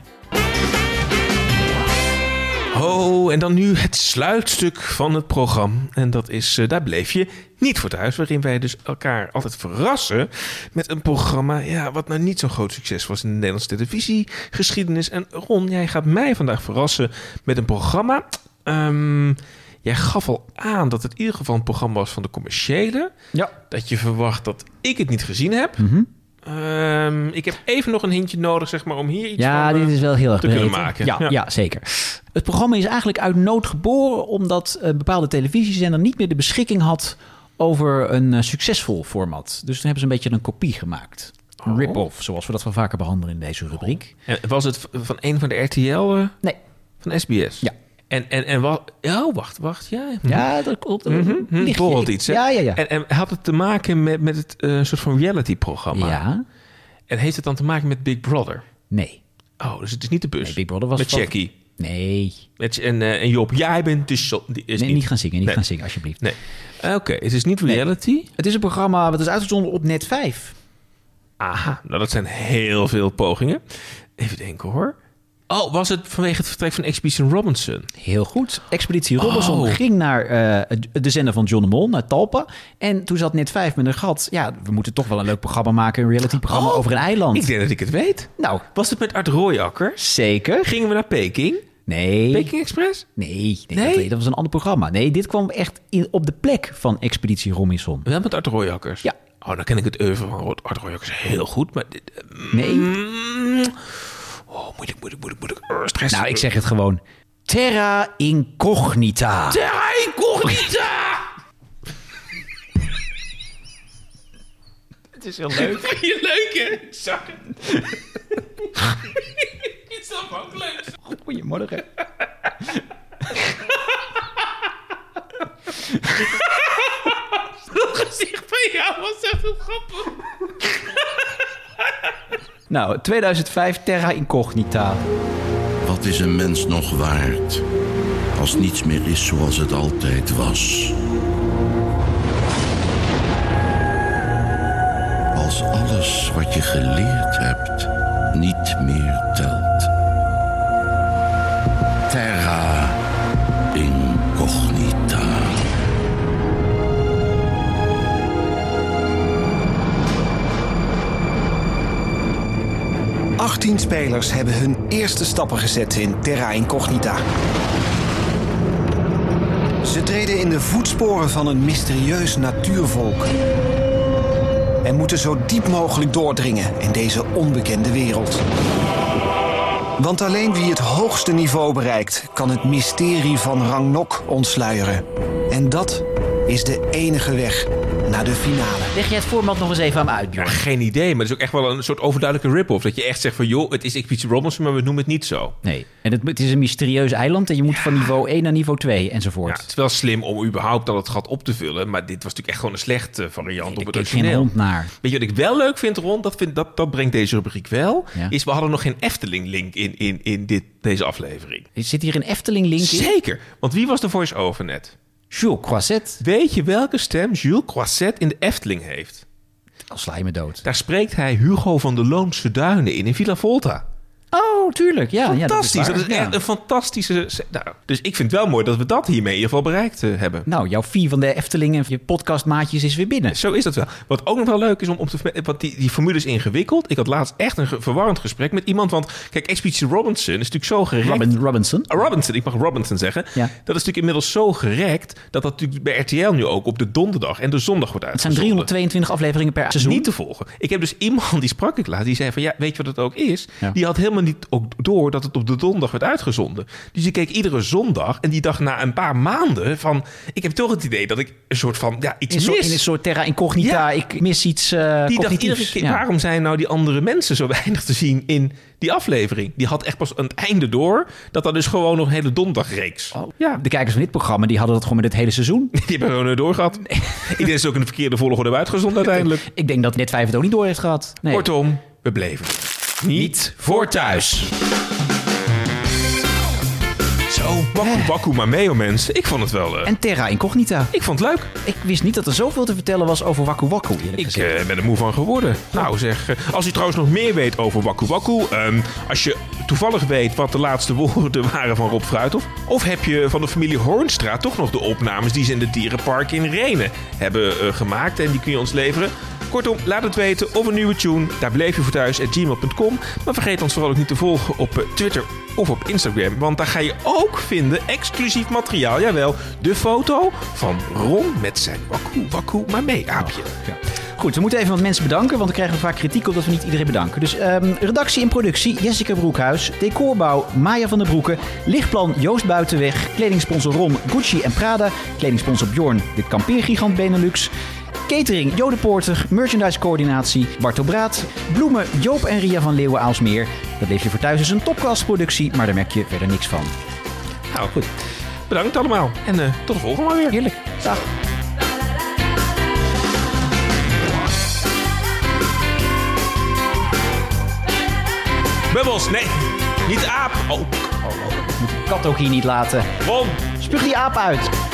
Speaker 2: Oh, en dan nu het sluitstuk van het programma. En dat is eh, Daar bleef je niet voor thuis. Waarin wij dus elkaar altijd verrassen met een programma... Ja, wat nou niet zo'n groot succes was in de Nederlandse televisiegeschiedenis. En Ron, jij gaat mij vandaag verrassen met een programma... Ehm, jij gaf al aan dat het in ieder geval een programma was van de commerciële.
Speaker 1: Ja. Mhm.
Speaker 2: Dat je verwacht dat ik het niet gezien heb. Ehm, ik heb even nog een hintje nodig, zeg maar, om hier iets
Speaker 1: Ja,
Speaker 2: van, eh,
Speaker 1: dit is wel heel erg
Speaker 2: te kunnen
Speaker 1: breed, hè?
Speaker 2: maken.
Speaker 1: Ja, ja. zeker. Het programma is eigenlijk uit nood geboren omdat een bepaalde televisiezender niet meer de beschikking had over een eh, succesvol format. Dus toen hebben ze een beetje een kopie gemaakt. Een rip-off, zoals we dat wel vaker behandelen in deze rubriek.
Speaker 2: En was het v- van een van de RTL? eh?
Speaker 1: Nee.
Speaker 2: Van SBS?
Speaker 1: Ja. Hm,
Speaker 2: En, en, en wat... Oh, wacht, wacht. Ja,
Speaker 1: Ja, dat klopt.
Speaker 2: Mhm, mhm.
Speaker 1: Ligt je-
Speaker 2: Bijvoorbeeld iets, hè?
Speaker 1: Ja, ja, ja.
Speaker 2: En, en had het te maken met, met het eh, soort van reality-programma?
Speaker 1: Ja.
Speaker 2: En heeft het dan te maken met Big Brother?
Speaker 1: Nee.
Speaker 2: Oh, dus het is niet de bus.
Speaker 1: Big Brother was
Speaker 2: Met
Speaker 1: van-
Speaker 2: Jackie.
Speaker 1: Nee.
Speaker 2: Met, en, eh, en Job, jij bent de... shot- die is
Speaker 1: Nee, niet gaan zingen, niet
Speaker 2: Nee.
Speaker 1: gaan zingen, alsjeblieft.
Speaker 2: Nee. Eh, Oké, het is niet reality.
Speaker 1: Het is een programma wat is uitgezonden op Net 5.
Speaker 2: Aha, nou dat zijn heel veel pogingen. Even denken hoor. Oh, was het vanwege het vertrek van Expedition Robinson?
Speaker 1: Heel goed. Expeditie Robinson
Speaker 2: Oh.
Speaker 1: ging naar eh, de zender van John de Mol, naar Talpa. En toen zat net vijf met een gat. Ja, we moeten toch wel een leuk programma maken, een realityprogramma
Speaker 2: Oh,
Speaker 1: over een eiland.
Speaker 2: Ik denk dat ik het weet.
Speaker 1: Nou,
Speaker 2: Was het met Art Royakker?
Speaker 1: zeker.
Speaker 2: Gingen we naar Peking?
Speaker 1: Nee.
Speaker 2: Peking Express?
Speaker 1: Nee, nee,
Speaker 2: Nee?
Speaker 1: Dat, dat was een ander programma. Nee, dit kwam echt in, op de plek van Expeditie Robinson.
Speaker 2: Wel met Art Royakkers? Ja. Oh, dan ken ik het oeuvre van Art Royakkers heel goed, maar... Dit, eh,
Speaker 1: Nee.
Speaker 2: mm, oh, moet ik, moet ik, moet ik, moet ik. eh, stress.
Speaker 1: Nou, ik zeg het gewoon. Terra Incognita.
Speaker 2: Terra Incognita!
Speaker 1: Het is heel leuk.
Speaker 2: Vind je leuk, hè? Zakken. Is dat ook leuk?
Speaker 1: Goedemorgen.
Speaker 2: Dat gezicht van jou was echt heel grappig.
Speaker 1: Nou, 2005, Terra Incognita.
Speaker 18: Wat is een mens nog waard als niets meer is zoals het altijd was? Als alles wat je geleerd hebt niet meer telt. Terra incognita.
Speaker 20: Achttien spelers hebben hun eerste stappen gezet in Terra Incognita. Ze treden in de voetsporen van een mysterieus natuurvolk. En moeten zo diep mogelijk doordringen in deze onbekende wereld. Want alleen wie het hoogste niveau bereikt, kan het mysterie van Rangnok ontsluieren. En dat is de enige weg naar de finale.
Speaker 1: Leg jij het format nog eens even aan me uit,
Speaker 2: Ja, geen idee, maar het is ook echt wel een soort overduidelijke rip-off. Dat je echt zegt van, joh, het is Expeditie Robinson, maar we noemen het niet zo.
Speaker 1: Nee, en het, het is een mysterieus eiland en je moet van niveau 1 naar niveau 2
Speaker 2: Ja,
Speaker 1: enzovoort.
Speaker 2: het is wel slim om überhaupt al het gat op te vullen, maar dit was natuurlijk echt gewoon een slechte variant op het
Speaker 1: Ik keek geen
Speaker 2: origineel.
Speaker 1: hond naar.
Speaker 2: Weet je wat ik wel leuk vind, Ron? Dat, vind, dat, dat brengt deze rubriek wel.
Speaker 1: Ja.
Speaker 2: Is we hadden nog geen Efteling-link in, in, in dit, deze aflevering.
Speaker 1: Zit hier een Efteling-link in?
Speaker 2: Zeker. Want wie was de voice-over net?
Speaker 1: Jules Croisset.
Speaker 2: Weet je welke stem Jules Croisset in de Efteling heeft?
Speaker 1: Al sla je me dood.
Speaker 2: Daar spreekt hij Hugo van de Loonse Duinen in, in Villa Volta.
Speaker 1: Oh, tuurlijk. Ja,
Speaker 2: Fantastisch.
Speaker 1: Ja,
Speaker 2: dat is,
Speaker 1: waar. Ja.
Speaker 2: echt een fantastische... se- Nou, dus ik vind het wel mooi dat we dat hiermee in ieder geval bereikt eh, hebben.
Speaker 1: Nou, jouw fee van de Efteling en je podcastmaatjes is weer binnen.
Speaker 2: Zo is dat wel. Wat ook nog wel leuk is om, om te verme- Want die, die formule is ingewikkeld. Ik had laatst echt een ge- verwarrend gesprek met iemand. Want kijk, Expeditie Robinson is natuurlijk zo gerekt.
Speaker 1: Robin, Robinson.
Speaker 2: Ah, Robinson, ik mag Robinson zeggen. Dat is natuurlijk inmiddels zo gerekt. dat dat natuurlijk bij RTL nu ook op de donderdag en de zondag wordt
Speaker 1: Het zijn
Speaker 2: uitgezonden.
Speaker 1: 322 afleveringen per seizoen.
Speaker 2: Niet te volgen. Ik heb dus iemand die sprak ik laat. Die zei van ja, weet je wat het ook is?
Speaker 1: Ja.
Speaker 2: Die had helemaal helemaal niet ook door dat het op de donderdag werd uitgezonden. Dus ik keek iedere zondag en die dacht na een paar maanden van... Ik heb toch het idee dat ik een soort van ja, iets
Speaker 1: in, een soort-
Speaker 2: mis.
Speaker 1: in een soort terra incognita. Ik mis iets eh
Speaker 2: die dacht
Speaker 1: cognitiefs.
Speaker 2: iedere keer,
Speaker 1: Ja.
Speaker 2: waarom zijn nou die andere mensen zo weinig te zien in die aflevering? Die had echt pas aan het einde door dat dat dus gewoon nog een hele donderdagreeks. Ja.
Speaker 1: De kijkers van dit programma die hadden dat gewoon met het hele seizoen.
Speaker 2: Die hebben gewoon eh, doorgehad. Ik denk dat ze ook in de verkeerde volgorde hebben uitgezonden uiteindelijk.
Speaker 1: Ik denk dat net 5 het ook niet door heeft gehad. Nee.
Speaker 2: Kortom, we bleven. Niet voor thuis. Zo, bakkoe bakkoe maar mee, oh mensen. Ik vond het wel... eh,
Speaker 1: Eh. En Terra Incognita.
Speaker 2: Ik vond het leuk.
Speaker 1: Ik wist niet dat er zoveel te vertellen was over Waku Waku. eerlijk
Speaker 2: Ik eh, ben er moe van geworden. Nou zeg, eh, als u trouwens nog meer weet over Wakku Wakku... ehm, als je toevallig weet wat de laatste woorden waren van Rob Fruithof... of heb je van de familie Hoornstra toch nog de opnames... die ze in het dierenpark in Renen hebben eh, gemaakt... en die kun je ons leveren... Kortom, laat het weten of een nieuwe tune. Daar bleef je voor thuis at gmail.com. Maar vergeet ons vooral ook niet te volgen op eh, Twitter of op Instagram. Want daar ga je ook vinden exclusief materiaal. Jawel, de foto van Ron met zijn wakku wakku maar mee aapje.
Speaker 1: Goed, we moeten even wat mensen bedanken, want we krijgen vaak kritiek op dat we niet iedereen bedanken. Dus ehm, redactie en productie Jessica Broekhuis, decorbouw Maya van der Broeken, lichtplan Joost Buitenweg, kledingsponsor Ron Gucci en Prada, kledingsponsor Bjorn de kampeergigant Benelux, catering Jode Porter, merchandisecoördinatie Bartel Braat, bloemen Joop en Ria van Leeuwen Aalsmeer. Dat leef je voor thuis is een topklasproductie, maar daar merk je verder niks van.
Speaker 2: Nou goed, bedankt allemaal en eh, tot de volgende maar weer.
Speaker 1: Heerlijk, dag.
Speaker 2: Bubbels, nee, niet de aap. Oh, oh, oh.
Speaker 1: Kat ook hier niet laten.
Speaker 2: Ron.
Speaker 1: Spuug die aap uit.